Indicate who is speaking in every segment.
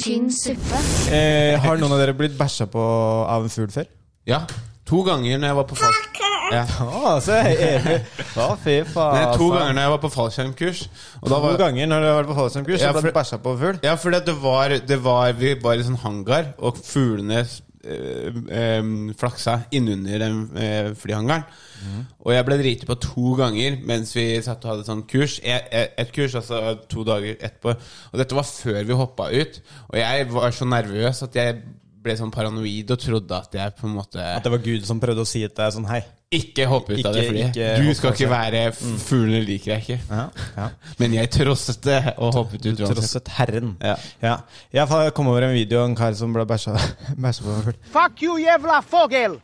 Speaker 1: tynn suppe.
Speaker 2: Eh, har noen av dere blitt bæsja på av en fugl før?
Speaker 3: Ja. To ganger når jeg var på fag... Ja.
Speaker 2: Å, så er jeg enig. Å, fy faen.
Speaker 3: Nei, to
Speaker 2: altså.
Speaker 3: ganger når jeg var på fallskjermkurs. Og da
Speaker 2: To
Speaker 3: var
Speaker 2: ganger når du har vært på fallskjermkurs,
Speaker 3: Ja,
Speaker 2: så ble
Speaker 3: for-
Speaker 2: du bæsja på av en fugl?
Speaker 3: Ja, for det var, det var Vi var i sånn hangar, og fuglene eh, em, flaksa innunder den eh, flyhangaren.
Speaker 2: Mhm.
Speaker 3: Og jeg ble driti på to ganger mens vi satt og hadde sånn kurs. E- e- Et kurs, altså to dager etterpå. Og dette var før vi hoppa ut. Og jeg var så nervøs at jeg ble sånn paranoid og trodde at jeg på en måte
Speaker 2: At det var Gud som prøvde å si til deg sånn hei.
Speaker 3: Ikke hoppe ut av det
Speaker 2: Ikke-
Speaker 3: flyet.
Speaker 2: ikke
Speaker 3: Du
Speaker 2: hoppe
Speaker 3: skal
Speaker 2: av Mm.
Speaker 3: ikke være Fuglene liker jeg ikke.
Speaker 2: Ja, ja.
Speaker 3: Men jeg trosset det og hoppet ut uansett.
Speaker 2: Trosset Herren.
Speaker 3: Ja.
Speaker 2: Ja. Jeg fa- kom over en video av en kar som ble bæsja, bæsja på av en fugl.
Speaker 4: Fuck you, jævla fogel!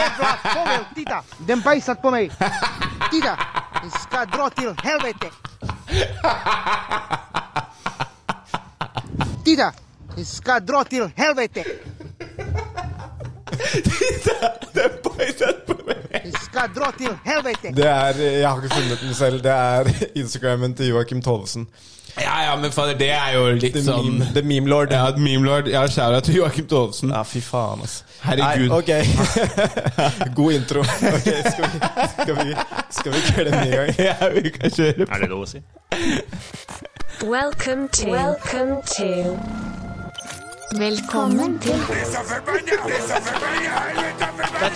Speaker 4: Jævla fogel, titta! Den beiset på meg. Titta! Jeg skal dra til helvete! Titta! Jeg skal dra til helvete!
Speaker 3: Den beitet på meg.
Speaker 4: Jeg skal dra til helvete!
Speaker 2: Det er, Jeg har ikke funnet den selv. Det er Instagrammen til Joakim Tovesen.
Speaker 3: Ja, ja, men fader, det er jo litt
Speaker 2: The,
Speaker 3: sånn
Speaker 2: meme, the meme lord.
Speaker 3: Ja, memelord. Ja, kjære til Joakim Tovsen.
Speaker 2: Ja, fy faen, altså.
Speaker 3: Herregud.
Speaker 2: Nei, ok. God intro. Ok, skal vi, skal vi, skal vi klemme i gang?
Speaker 3: Ja, vi kan kjøre på.
Speaker 5: Er det lov å si?
Speaker 6: Welcome to. Welcome to.
Speaker 1: Velkommen til
Speaker 3: Vet du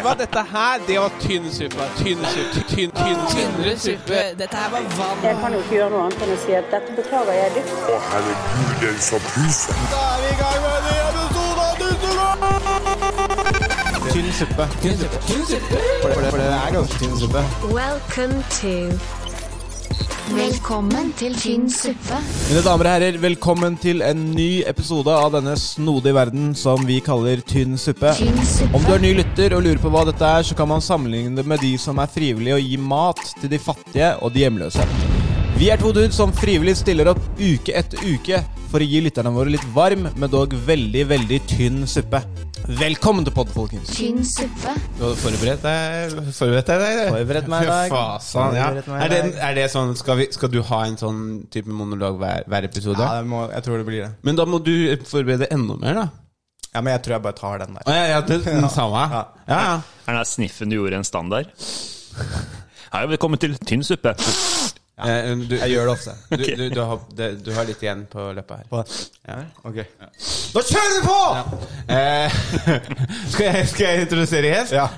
Speaker 3: hva, dette her, det var tynn suppe. Tynn suppe. Tynn, tynn, tynnere suppe.
Speaker 7: Dette her var vann.
Speaker 8: Jeg kan jo ikke gjøre noe annet enn å si at dette beklager jeg dypt.
Speaker 9: Å, herregud, den som puser.
Speaker 2: Da er vi i gang med en ny episode av Dusselov! Tynn suppe. Tynn suppe. For, det, for det er ganske tynn suppe.
Speaker 6: Welcome to.
Speaker 1: Velkommen til tynn suppe.
Speaker 2: Mine damer og herrer, velkommen til en ny episode av denne snodige verden som vi kaller Tynn suppe.
Speaker 1: Tynn
Speaker 2: Om du
Speaker 1: suppe.
Speaker 2: er ny lytter og lurer på hva dette er, så kan man sammenligne det med de som er frivillige og gir mat til de fattige og de hjemløse. Vi er to dudes som frivillig stiller opp uke etter uke for å gi lytterne våre litt varm, men dog veldig, veldig tynn suppe. Velkommen til podden, folkens.
Speaker 1: Tynn suppe.
Speaker 3: Du hadde forberedt deg Forberedt deg i dag?
Speaker 2: Forberedt meg i dag.
Speaker 3: Fy fasan, ja.
Speaker 2: Forberedt meg i
Speaker 3: Er det,
Speaker 2: dag.
Speaker 3: er det sånn skal, vi, skal du ha en sånn type monolog hver, hver episode?
Speaker 2: det må, jeg tror det blir det.
Speaker 3: Men da må du forberede enda mer, da.
Speaker 2: Ja, men jeg tror jeg bare tar den der.
Speaker 3: Å ja, ja, det, den samme. Ja, ja.
Speaker 5: Er den der sniffen du gjorde en standard? Hei, velkommen til tynn suppe.
Speaker 3: Eh, Du,
Speaker 2: Jeg gjør det ofte.
Speaker 3: du, du, du, har, det- du har litt igjen på løpet her.
Speaker 2: På-
Speaker 3: Ja.
Speaker 2: Ok. Da kjører vi på!
Speaker 3: Eh, skal, jeg, skal jeg introdusere gjest?
Speaker 2: Ja.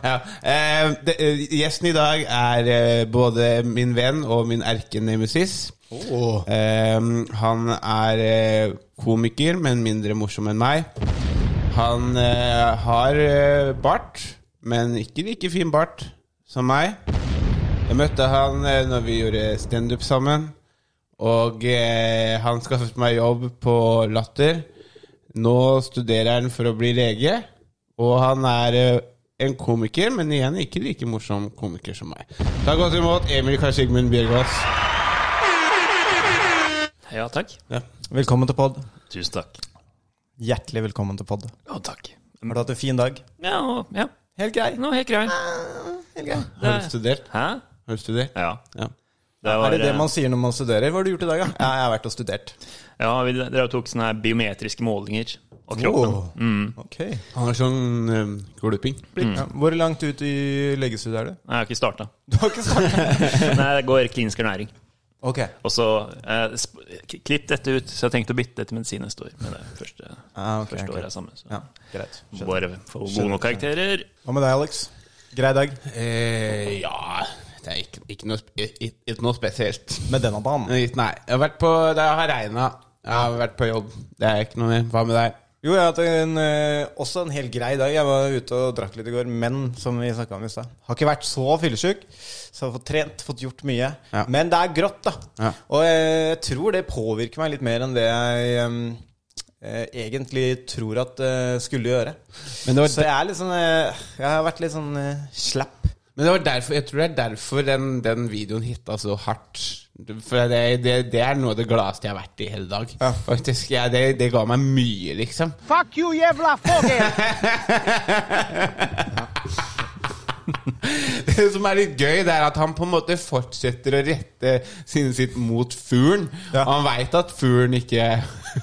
Speaker 3: Eh, det, eh, gjesten i dag er eh, både min venn og min erkenemesis.
Speaker 2: Åh.
Speaker 3: Eh, han er eh, komiker, men mindre morsom enn meg. Han eh, har eh, bart, men ikke like fin bart som meg. Jeg møtte han eh, når vi gjorde standup sammen. Og eh, han skaffet meg jobb på Latter. Nå studerer han for å bli lege. Og han er eh, en komiker, men igjen ikke like morsom komiker som meg. Ta godt imot Emil Karsigmund Bjørgaas.
Speaker 5: Ja, takk.
Speaker 2: Velkommen til pod.
Speaker 5: Tusen takk.
Speaker 2: Hjertelig velkommen til pod.
Speaker 5: Ja, takk.
Speaker 2: Har du hatt en fin dag?
Speaker 5: Ja, ja.
Speaker 2: Helt grei.
Speaker 5: Nå, helt grei.
Speaker 3: Har du studert?
Speaker 5: Hæ?
Speaker 3: Har du studert?
Speaker 5: Ja.
Speaker 3: Ja.
Speaker 5: Det
Speaker 2: Er det det
Speaker 5: eh,
Speaker 2: man sier når man studerer? Hva har du gjort i dag, da? Ja, jeg har vært og studert.
Speaker 5: Ja, vi dere tok sånne her biometriske målinger av kroppen.
Speaker 2: Åh.
Speaker 5: Mm.
Speaker 2: Ok.
Speaker 3: Han har sånn um, gluping.
Speaker 2: Ja, hvor langt ut i legestudiet er du?
Speaker 5: Nei, jeg har ikke starta.
Speaker 2: Du har ikke snakket.
Speaker 5: Nei, det går klinisk ernæring.
Speaker 2: Ok.
Speaker 5: Og så eh, sp- k- Klipp dette ut, så jeg tenkte å bytte til medisin neste år. Men det er første,
Speaker 2: Ah, ok,
Speaker 5: første
Speaker 2: ok.
Speaker 5: året er sammen. Så.
Speaker 2: Ja, greit. Skjønner.
Speaker 5: Bare få gode nok karakterer.
Speaker 2: Hva med deg, Alex? Grei dag.
Speaker 3: Eh, ja Det er ikke, ikke, noe, sp- ikke, ikke noe spesielt.
Speaker 2: Med denne banen.
Speaker 3: Nei, jeg har vært på Det har regna. Jeg har vært på jobb. Det er ikke noe mer. Hva med deg?
Speaker 2: Jo, jeg har hatt en, eh, også en helt grei dag. Jeg var ute og drakk litt i går, men som vi snakka om i stad Har ikke vært så fyllesyk. Så jeg har fått trent, fått gjort mye.
Speaker 3: Ja.
Speaker 2: Men det er grått, da.
Speaker 3: Ja.
Speaker 2: Og eh, jeg tror det påvirker meg litt mer enn det jeg em, eh, egentlig tror at det skulle gjøre.
Speaker 3: Men det var
Speaker 2: så jeg er litt sånn eh, Jeg har vært litt sånn eh, slapp.
Speaker 3: Men det var derfor, jeg tror det er derfor den, den videoen hitta så hardt. For det, det, det er noe av det gladeste jeg har vært i hele dag.
Speaker 2: Ja.
Speaker 3: Faktisk, jeg, det, det ga meg mye, liksom.
Speaker 4: Fuck you, jævla fogel!
Speaker 3: som er litt gøy, det er at han på en måte fortsetter å rette sinnet sitt mot fuglen.
Speaker 2: Ja.
Speaker 3: Og han veit at fuglen ikke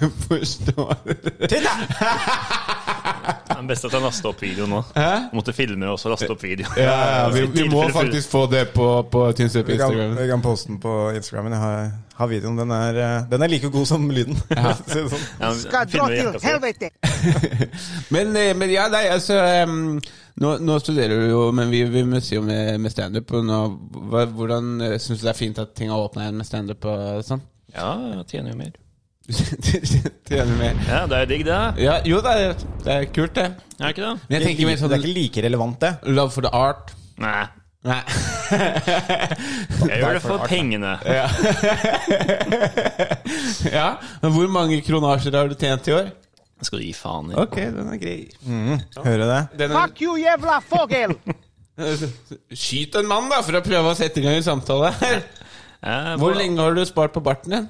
Speaker 3: forstår det.
Speaker 5: Det er best at jeg laster opp video nå.
Speaker 3: Hæ?
Speaker 5: Jeg måtte filme og så laste opp video.
Speaker 3: Ja, ja, vi,
Speaker 5: Så i
Speaker 3: vi må
Speaker 5: tilfelle-
Speaker 3: faktisk få det på, på Tynset på
Speaker 2: Vi kan,
Speaker 3: Instagram.
Speaker 2: vi kan poste den på Instagramen. Jeg har, har videoen. Den er, eh, den er like god som lyden. Si det sånn.
Speaker 5: Ja,
Speaker 4: Ska dra
Speaker 5: filmer vi
Speaker 4: til
Speaker 5: etterpå.
Speaker 4: helvete!
Speaker 3: Men, eh, men ja, nei, altså em, nå, nå studerer du jo, men vi, vi må si jo med, med standup. og nå- hva- Hvordan syns du det er fint at ting har åpna igjen med standup og sånn?
Speaker 5: Ja, jeg tjener jo mer.
Speaker 3: Tjener mer.
Speaker 5: Ja, det er digg, det.
Speaker 3: Ja, jo, det er, det er kult, det.
Speaker 5: Er det ikke det?
Speaker 3: Men jeg tenker
Speaker 2: Det
Speaker 3: mer
Speaker 2: er
Speaker 3: sånn
Speaker 2: ikke like relevant, det.
Speaker 3: love for the art.
Speaker 5: Nei.
Speaker 3: Nei.
Speaker 5: Jeg gjør det for pengene.
Speaker 3: ja, men hvor mange kronasjer har du tjent i år?
Speaker 5: Jeg skal gi faen i.
Speaker 3: Ok, den er grei.
Speaker 2: Hører du det?
Speaker 3: Den er,
Speaker 4: Fuck you, jævla fogel!
Speaker 3: skyt en mann, da, for å prøve å sette i gang en samtale.
Speaker 5: Eh,
Speaker 3: Hvor
Speaker 5: hva-
Speaker 3: lenge har du spart på barten din?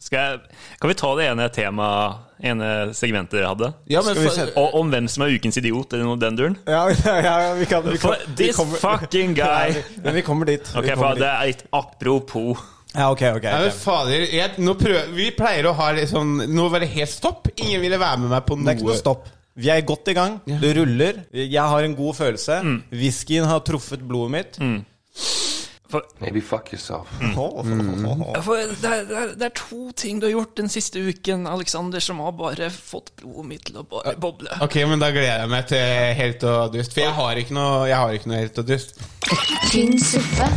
Speaker 5: Skal jeg, kan vi ta det ene temaet, ene segmentet jeg hadde?
Speaker 3: Ja, men
Speaker 2: Skal vi
Speaker 3: for-
Speaker 2: sette-
Speaker 5: Og om hvem som er ukens idiot, eller noe den duren?
Speaker 2: Ja, ja, ja vi kan, vi kan
Speaker 5: For
Speaker 2: vi
Speaker 5: this
Speaker 2: kommer,
Speaker 5: fucking
Speaker 2: Nei,
Speaker 5: guy!
Speaker 2: vi- Men vi kommer dit. Vi
Speaker 5: Ok,
Speaker 2: kommer
Speaker 5: for det er litt apropos.
Speaker 2: dit. Ja, ok, ok, ok.
Speaker 3: Nei, men fader, jeg, nå prøver, Vi pleier å ha litt sånn Nå var det helt stopp. Ingen ville være med meg på noe.
Speaker 2: Det er ikke noe stopp. Vi er godt i gang. Det ruller. Jeg har en god følelse.
Speaker 5: Mm.
Speaker 2: Whiskyen har truffet blodet mitt.
Speaker 5: For,
Speaker 7: Maybe fuck yourself.
Speaker 2: Åh,
Speaker 5: for det, er, det, er, det er to ting du har gjort den siste uken, Alexander, som har bare fått blodet mitt til å bare boble.
Speaker 3: Ok, men da gleder jeg meg til helt og dust. For jeg har ikke noe, jeg har ikke noe helt og dust.
Speaker 1: Tynn suppe.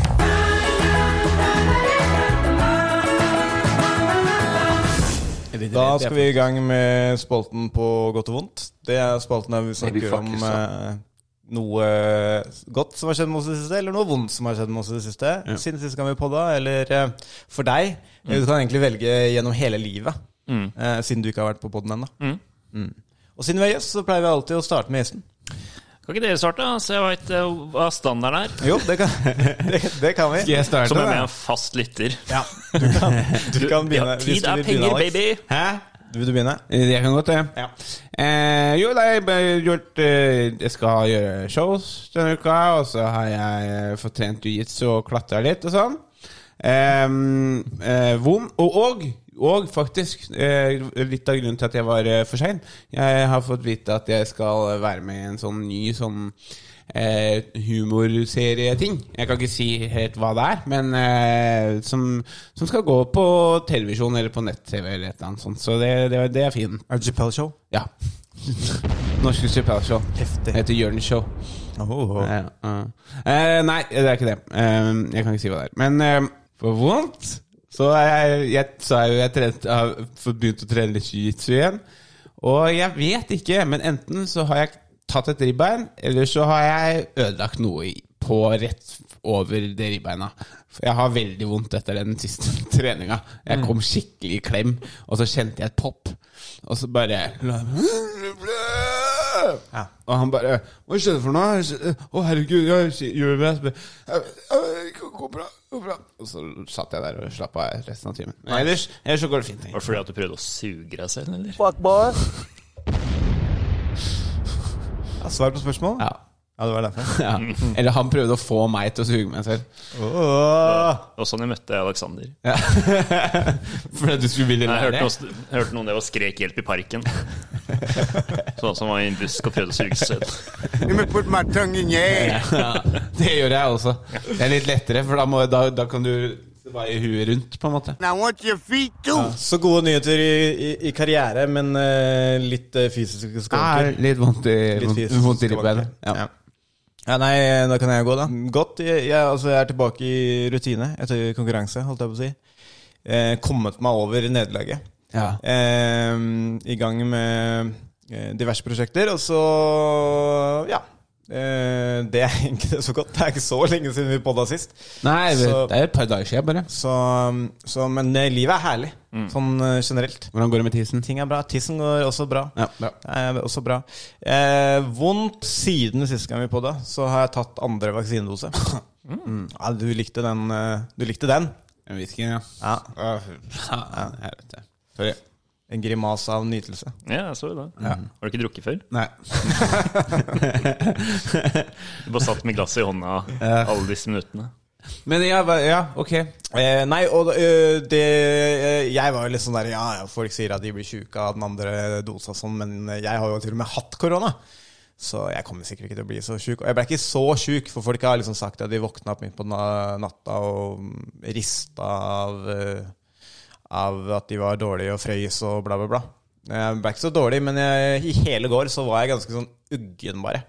Speaker 2: Da skal vi i gang med spalten på godt og vondt. Det er spalten der vi snakker
Speaker 7: fuck
Speaker 2: om
Speaker 7: yourself.
Speaker 2: eh, noe eh, godt som har skjedd med oss i det siste, eller noe vondt som har skjedd med oss i det siste. Siden sist gang vi podda, eller eh, for deg. Du kan egentlig velge gjennom hele livet, eh, siden du ikke har vært på podden ennå. Mm. Og siden vi er gjest, så pleier vi alltid å starte med gjesten.
Speaker 5: Kan ikke dere starte, da, så jeg veit hva standarden er?
Speaker 2: Jo, det kan, det, det kan vi.
Speaker 3: Skal jeg starte?
Speaker 5: Som er
Speaker 3: da?
Speaker 5: med en fast lytter.
Speaker 2: Ja, du kan, du kan begynne.
Speaker 5: Ja,
Speaker 2: Hvis
Speaker 5: tid
Speaker 2: du
Speaker 5: er
Speaker 2: vil begynne,
Speaker 5: penger,
Speaker 2: Alex.
Speaker 5: baby!
Speaker 3: Hæ?
Speaker 2: Vil du begynne?
Speaker 3: Jeg kan godt det.
Speaker 2: Ja.
Speaker 3: Eh, jo, nei, jeg har gjort eh, Jeg skal gjøre shows denne uka, og så har jeg eh, fått trent jiu-jitsu og klatra litt og sånn. Ehm, eh, vond. Og, og, og faktisk, eh, litt av grunnen til at jeg var eh, for sein Jeg har fått vite at jeg skal være med i en sånn ny sånn eh, humorserieting. Jeg kan ikke si helt hva det er, men eh, som, som skal gå på televisjon eller på nett-TV eller et eller annet sånt. Så det, det, det er fin.
Speaker 2: Er det Chappelle Show?
Speaker 3: Ja. Norske Chappelle Show.
Speaker 2: Heftig.
Speaker 3: Det heter Jørn Show.
Speaker 2: Åh.
Speaker 3: Ja, ja. Eh, nei, det er ikke det. Eh, jeg kan ikke si hva det er. Men eh, for vondt så er jeg, jeg, så er jo jeg trent, har fått begynt å trene litt jiu-jitsu igjen. Og jeg vet ikke, men enten så har jeg tatt et ribbein, eller så har jeg ødelagt noe i- på rett over det ribbeina. For jeg har veldig vondt etter den siste treninga. Jeg kom skikkelig i klem, og så kjente jeg et pop. Og så bare
Speaker 2: Ja.
Speaker 3: og han bare 'Hva skjedde for noe?' Jeg skjønner- 'Å, herregud, jeg skj- gjør det bra.' Det går bra, går bra. Og så satt jeg der og slappa av resten av timen. Men ellers, ellers så går det fint.
Speaker 5: Var det fordi at du prøvde å suge deg selv, eller?
Speaker 2: Ja, svar på spørsmål?
Speaker 3: Ja.
Speaker 2: Ja, det var derfor.
Speaker 3: ja. Eller han prøvde å få meg til å suge meg selv.
Speaker 5: Og sånn jeg møtte Alexander.
Speaker 3: Ja. Fordi du skulle ville
Speaker 5: Jeg
Speaker 3: lære
Speaker 5: hørte,
Speaker 3: det?
Speaker 5: noen, jeg hørte noen der og skrek hjelp i parken. Sånn som var i en busk og prøvde å suge seg selv.
Speaker 9: Let me put my tongue in your ass.
Speaker 3: Ja, det gjør jeg også. Det er litt lettere, for da, må, da, da kan du vaie huet rundt, på en måte.
Speaker 9: And I want your feet too.
Speaker 2: Så gode nyheter i, i, i karriere, men eh, litt eh, fysiske
Speaker 3: Det
Speaker 2: skanker.
Speaker 3: er litt vondt i,
Speaker 2: Litt fysisk
Speaker 3: vondt i ribbeinet.
Speaker 2: tilbake.
Speaker 3: Ja.
Speaker 2: Ja, nei, da kan jeg gå, da. Godt. Jeg, jeg, altså, jeg er tilbake i rutine etter konkurranse, holdt jeg på å si. Eh, kommet meg over nederlaget.
Speaker 3: Ja.
Speaker 2: Eh, I gang med eh, diverse prosjekter, og så ja. Eh, det er egentlig så godt. Det er ikke så lenge siden vi podda sist.
Speaker 3: Nei, det
Speaker 2: Så-
Speaker 3: er et par dager siden, bare.
Speaker 2: Så, så, men eh, livet er herlig, sånn eh, generelt.
Speaker 3: Hvordan går det med tissen?
Speaker 2: Ting er bra. Tissen går også bra.
Speaker 3: Ja, bra.
Speaker 2: Eh, også bra. Eh, vondt siden sist gang vi på det, så har jeg tatt andre vaksinedose. Mm. Ja, du likte den. eh, Du likte den.
Speaker 3: En whisky, ja.
Speaker 2: Ja.
Speaker 3: Ja, jeg vet det. Sorry.
Speaker 2: En grimas av nytelse.
Speaker 7: Ja, jeg så jo det. Har du ikke drukket før?
Speaker 3: Nei.
Speaker 7: Du bare satt med glasset i hånda alle disse minuttene.
Speaker 3: Men ja, hva- ja ok.
Speaker 2: Eh, nei, og eh, det eh, Jeg var jo litt sånn der Ja, ja, folk sier at de blir sjuke av den andre dosa og sånn, men jeg har jo til og med hatt korona. Så jeg kommer sikkert ikke til å bli så sjuk. Og jeg ble ikke så sjuk, for folk har liksom sagt at de våkna opp midt på na- natta og rista av, eh, av at de var dårlige og frøys og bla, bla, bla. Jeg ble ikke så dårlig, men jeg, i hele går så var jeg ganske sånn uggen, bare.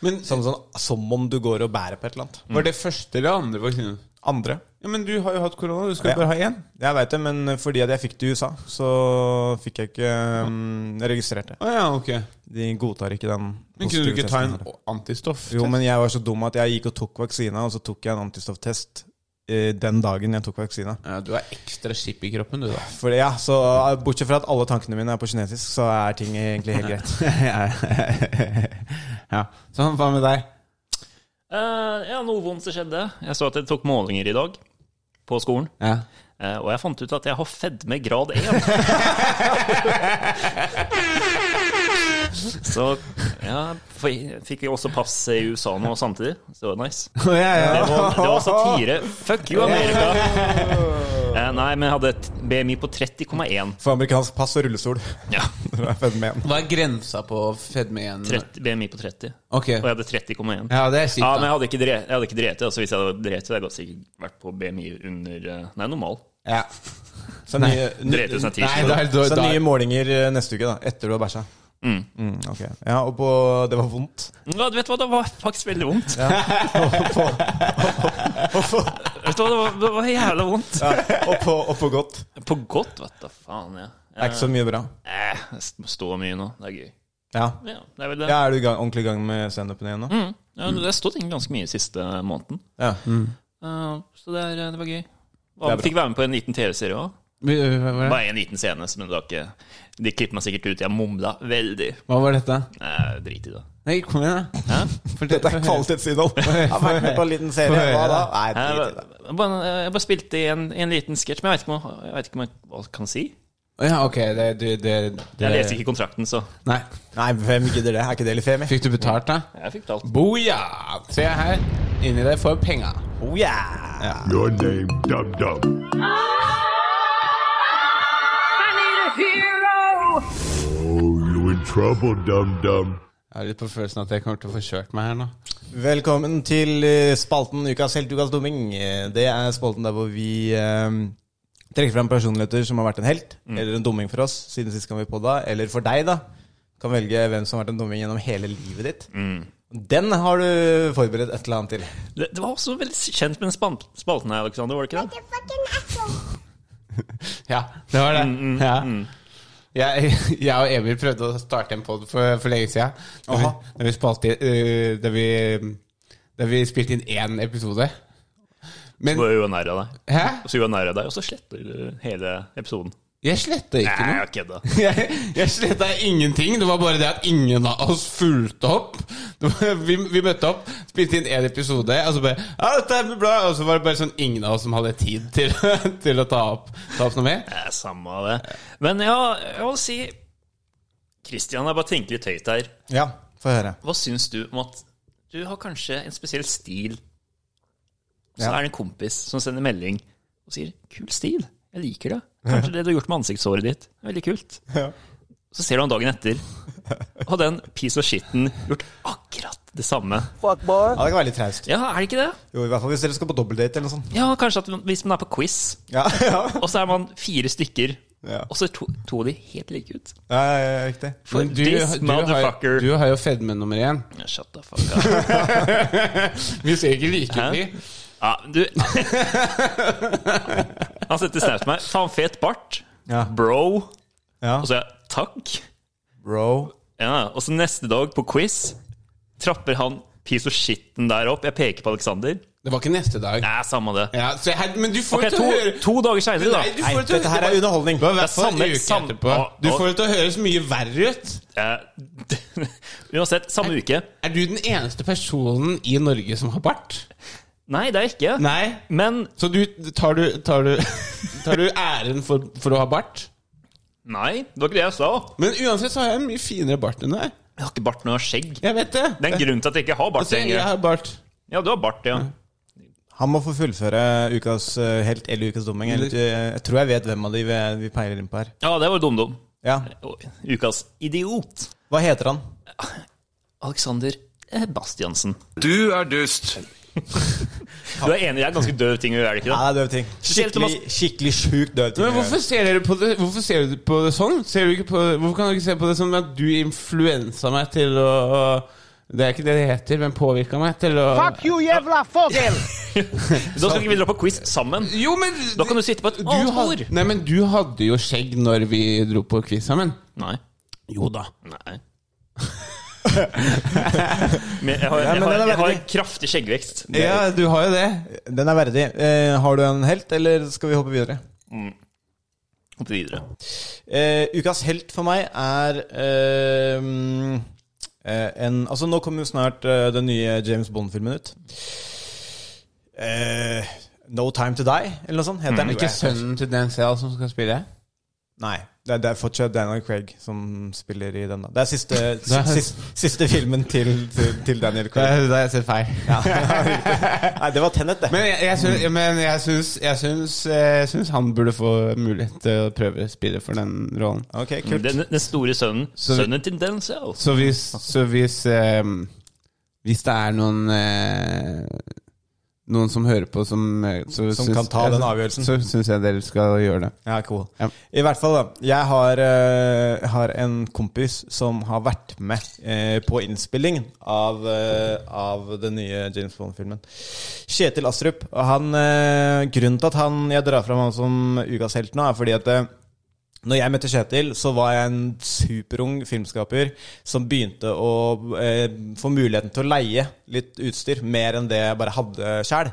Speaker 3: Men Mm.
Speaker 2: Som, sånn, som om du går og bærer på et eller annet.
Speaker 3: var det første eller andre vaksinen?
Speaker 2: Andre.
Speaker 3: Ja, men du har jo hatt korona, du skal
Speaker 2: Ja.
Speaker 3: bare ha én.
Speaker 2: Jeg veit det, men fordi at jeg fikk det i USA, så fikk jeg ikke um, registrert det.
Speaker 3: Å ja, ok.
Speaker 2: De godtar ikke den.
Speaker 3: Men kunne du
Speaker 2: positive
Speaker 3: ikke ta en
Speaker 2: testen her.
Speaker 3: antistoff?
Speaker 2: Jo, men jeg var så dum at jeg gikk og tok vaksina, og så tok jeg en antistofftest eh, den dagen jeg tok vaksina.
Speaker 3: Ja, du er ekstra skip i kroppen, du, da.
Speaker 2: For ja, så eh, Bortsett fra at alle tankene mine er på kinesisk, så er ting egentlig helt greit.
Speaker 3: ja. Sånn, hva med deg?
Speaker 7: Eh, ja, noe vondt som skjedde. Jeg så at jeg tok målinger i dag på skolen.
Speaker 3: Ja.
Speaker 7: Eh, og jeg fant ut at jeg har fedme grad 1. så ja, for jeg fikk jo også pass i USA nå samtidig, så det var nice.
Speaker 3: Å, ja, ja.
Speaker 7: Det var, det var satire. Fuck you, Amerika! Eh, nei, men jeg hadde et BMI på 30,1.
Speaker 2: For amerikansk pass og rullestol.
Speaker 7: Ja,
Speaker 2: Det er fett med en.
Speaker 3: Hva er grensa på fedme igjen?
Speaker 7: 30, BMI på 30.
Speaker 3: Ok.
Speaker 7: Og jeg hadde 30,1.
Speaker 3: Ja, det er kjipt,
Speaker 7: Ja,
Speaker 3: da.
Speaker 7: men jeg hadde ikke dre- jeg hadde ikke drept det. Altså, hvis jeg hadde drept det, hadde jeg sikkert vært på BMI under eh, Nei, normal.
Speaker 3: Ja.
Speaker 2: Så nye,
Speaker 7: Drept ut som en
Speaker 3: Nei, da,
Speaker 7: tirsdag.
Speaker 3: er- da,
Speaker 2: så
Speaker 3: da.
Speaker 2: nye målinger eh, neste uke, da. Etter du har bæsja. Mm, ok. Ja, og på Det var vondt.
Speaker 7: Ja, du vet hva, det var faktisk veldig vondt. Vet du hva, det var, det var jævla vondt.
Speaker 2: Ja, og, på, og på godt.
Speaker 7: På godt, vet du faen, ja.
Speaker 2: Det er ikke så mye bra.
Speaker 7: Eh, jeg st- står mye nå. Det er gøy.
Speaker 2: Ja.
Speaker 7: Ja, det er vel det.
Speaker 2: ja er du i gang, ordentlig i gang med standupen igjen nå?
Speaker 7: Mm. Ja, det har stått egentlig ganske mye siste måneden.
Speaker 2: Ja.
Speaker 7: Eh, så det, er, det var gøy.
Speaker 2: Det er
Speaker 7: Og
Speaker 2: bra.
Speaker 7: fikk være med på en liten TV-serie òg.
Speaker 3: Hva var det?
Speaker 7: Bare en liten scene, men det var ikke, de klippet meg sikkert ut. Jeg mumla veldig.
Speaker 3: Hva var dette?
Speaker 7: Nei, drit i det.
Speaker 3: Nei, kom igjen, da.
Speaker 7: Hæ?
Speaker 2: Dette er kvalitetsinnhold. Jeg har vært med på en liten serie. Hva da? Nei,
Speaker 7: Jeg,
Speaker 2: drit i det.
Speaker 7: jeg, bare, jeg bare spilte i en, en liten sketsj, men jeg vet ikke om jeg, jeg vet ikke om jeg hva jeg kan si.
Speaker 3: Ja, ok, det, det, det, det
Speaker 7: Jeg leser ikke kontrakten, så
Speaker 3: Nei.
Speaker 2: Nei, hvem gidder det? Er ikke det litt femi?
Speaker 3: Fikk du betalt, da?
Speaker 7: jeg fikk talt.
Speaker 3: Boja! Se her. Inni deg får penga.
Speaker 2: Oh, yeah.
Speaker 9: Your name, Dub Dub. Oh, you in trouble, Dum Dum.
Speaker 3: Jeg har litt på følelsen at jeg kommer til å få kjørt meg her nå.
Speaker 2: Velkommen til eh, spalten Ukas helt, ukas dumming. Eh, Det er spalten der hvor vi eh, trekker fram personligheter som har vært en helt, eller en dumming for oss siden sist gang vi podda, eller for deg, da. Kan velge hvem som har vært en dumming gjennom hele livet ditt. Den har du forberedt et eller annet til.
Speaker 7: Det, det var også veldig kjent med den span- spalten her, Alexander, var det ikke det?
Speaker 3: Ja, det var det.
Speaker 2: Mm,
Speaker 3: ja. Jeg, jeg og Emil prøvde å starte en pod for, for lenge siden. Da vi,
Speaker 2: Aha.
Speaker 3: da vi, spalte, eh, da vi, da vi spilte inn én episode.
Speaker 7: Så
Speaker 3: Men
Speaker 7: var jeg unære av deg.
Speaker 3: Hæ?
Speaker 7: Og så unære av deg, og så sletter du hele episoden.
Speaker 3: Jeg sletta ikke
Speaker 7: Nei,
Speaker 3: noe.
Speaker 7: jeg kødda.
Speaker 3: Jeg, jeg sletta ingenting. Det var bare det at ingen av oss fulgte opp. Det var, vi, vi møtte opp, spilte inn én episode, og så bare ja, dette er bra. Og så var det bare sånn ingen av oss som hadde tid til, til å ta opp, ta opp noe mer.
Speaker 7: Det er samme av det. Men ja, jeg vil si Christian, jeg bare tenker litt høyt her.
Speaker 2: Ja, få høre.
Speaker 7: Hva syns du om at du har kanskje en spesiell stil? Så
Speaker 2: Ja.
Speaker 7: er det en kompis som sender melding og sier 'kul stil, jeg liker det'. Kanskje det du har gjort med ansiktshåret ditt. er Veldig kult. Så ser du han dagen etter, og den piece of shitten gjort akkurat det samme.
Speaker 2: Ja, det kan være litt traust.
Speaker 7: Ja, er det ikke det?
Speaker 2: Jo, i hvert fall hvis dere skal på dobbeltdate eller noe sånt.
Speaker 7: Ja, kanskje at hvis man er på quiz,
Speaker 2: Ja, ja.
Speaker 7: og så er man fire stykker,
Speaker 2: Ja.
Speaker 7: og så er to, to av de helt like ut.
Speaker 2: ja, ja, ja riktig.
Speaker 7: For
Speaker 3: Men du,
Speaker 7: this
Speaker 3: du, har,
Speaker 7: motherfucker
Speaker 3: du har jo fedme nummer én.
Speaker 7: Ja, Shut the fuck up.
Speaker 3: Vi ser ikke like
Speaker 7: Hæ?
Speaker 3: mye.
Speaker 7: Ja, du Han setter snap til meg. Faen, fet bart.
Speaker 2: Ja.
Speaker 7: Bro.
Speaker 2: Ja.
Speaker 7: Og så er jeg takk.
Speaker 2: Bro.
Speaker 7: Ja, og så neste dag på quiz trapper han piece of shitten der opp. Jeg peker på Alexander.
Speaker 3: Det var ikke neste dag.
Speaker 7: Nei, samme det.
Speaker 3: Ja, så her, men du får
Speaker 7: Ok,
Speaker 3: jo til
Speaker 7: to,
Speaker 3: å høre
Speaker 7: to dager seinere,
Speaker 3: Nei, du
Speaker 7: da.
Speaker 3: får
Speaker 2: Nei,
Speaker 3: jo til å-
Speaker 2: dette her er underholdning.
Speaker 3: Det var i hvert
Speaker 7: Det er
Speaker 3: fall
Speaker 7: samme-
Speaker 3: en uke
Speaker 7: samme-
Speaker 3: etterpå.
Speaker 7: Å,
Speaker 3: Du
Speaker 7: å.
Speaker 3: får det til å høres mye verre ut.
Speaker 7: Eh, Uansett, samme uke.
Speaker 3: Er du den eneste personen i Norge som har bart?
Speaker 7: Nei, det er jeg ikke.
Speaker 3: Nei.
Speaker 7: Men
Speaker 3: Så du tar du, tar du, tar du æren for, for å ha bart?
Speaker 7: Nei, det var ikke det jeg sa.
Speaker 3: Men uansett så har jeg en mye finere bart enn deg.
Speaker 7: Jeg har ikke bart når jeg har skjegg.
Speaker 3: Jeg vet det.
Speaker 7: Det er en grunn til at jeg ikke har bart
Speaker 3: altså, jeg
Speaker 7: lenger.
Speaker 3: har bart.
Speaker 7: Ja, du har bart, ja.
Speaker 2: Han må få fullføre ukas eh, helt eller ukas dumming. Jeg, vet- jeg tror jeg vet hvem av de vi, vi peiler inn på her.
Speaker 7: Ja, det var dum-dum.
Speaker 2: Ja,
Speaker 7: Og Ukas idiot.
Speaker 2: Hva heter han?
Speaker 7: Alexander eh, Bastiansen. Du er dust. du er enig, det er ganske døv ting å gjøre, er det ikke
Speaker 2: Ja,
Speaker 7: det?
Speaker 2: det er døv ting.
Speaker 7: Spesielt om han-
Speaker 2: Skikkelig, skikkelig sjukt døv ting.
Speaker 3: Men hvorfor ser dere på det, hvorfor ser du på det sånn? Ser du ikke på, hvorfor kan du ikke se på det som at du influensa meg til å å- Det er ikke det det heter, men påvirka meg til å
Speaker 4: Fuck you, jævla fogel!
Speaker 7: Da skal ikke vi dra på quiz sammen.
Speaker 3: Jo, men
Speaker 7: Da kan du sitte på et
Speaker 3: du
Speaker 7: annet
Speaker 3: had,
Speaker 7: bord.
Speaker 3: Nei, men du hadde jo skjegg når vi dro på quiz sammen.
Speaker 7: Nei.
Speaker 3: Jo da.
Speaker 7: Nei. Men jeg har,
Speaker 2: Ja,
Speaker 7: jeg
Speaker 2: men den
Speaker 7: har,
Speaker 2: er
Speaker 7: jeg har
Speaker 2: veldig-
Speaker 7: en kraftig skjeggvekst.
Speaker 3: Ja, du har jo det.
Speaker 2: Den er verdig. Eh, har du en helt, eller skal vi hoppe videre?
Speaker 7: Hopp videre.
Speaker 2: Eh, ukas helt for meg er eh, mm, eh, en Altså, nå kommer jo snart eh, den nye James Bond-filmen ut. Eh, no Time To Die, eller noe sånt. Heter den
Speaker 3: Ikke sønnen til Denzel som skal spille?
Speaker 2: Nei. Det er, det er fortsatt Daniel Craig som spiller i den. da Det er siste,
Speaker 3: er-
Speaker 2: siste, siste filmen til, til, til Daniel Craig.
Speaker 3: da har jeg sett feil.
Speaker 2: Nei, det var Tennet, det.
Speaker 3: Men jeg, jeg, syns, men jeg, syns, jeg, syns, jeg syns han burde få mulighet til å prøve å spille for den rollen.
Speaker 2: Ok, kult.
Speaker 7: Den, den store sønnen. Sønnen til Denzel.
Speaker 3: Så hvis, så hvis, ehm, hvis det er noen eh, Noen som hører på, som eh, så,
Speaker 2: Som
Speaker 3: syns-
Speaker 2: kan ta den avgjørelsen.
Speaker 3: Så syns jeg dere skal gjøre det.
Speaker 2: Ja, cool.
Speaker 3: Ja.
Speaker 2: I hvert fall, da. Jeg har, eh, har en kompis som har vært med eh, på innspillingen av, eh, av den nye James Bond-filmen. Kjetil Astrup. Og han, eh, grunnen til at han, jeg drar fram han som ukas helt nå, er fordi at eh, når jeg møtte Kjetil, så var jeg en superung filmskaper som begynte å eh, få muligheten til å leie litt utstyr, mer enn det jeg bare hadde sjæl.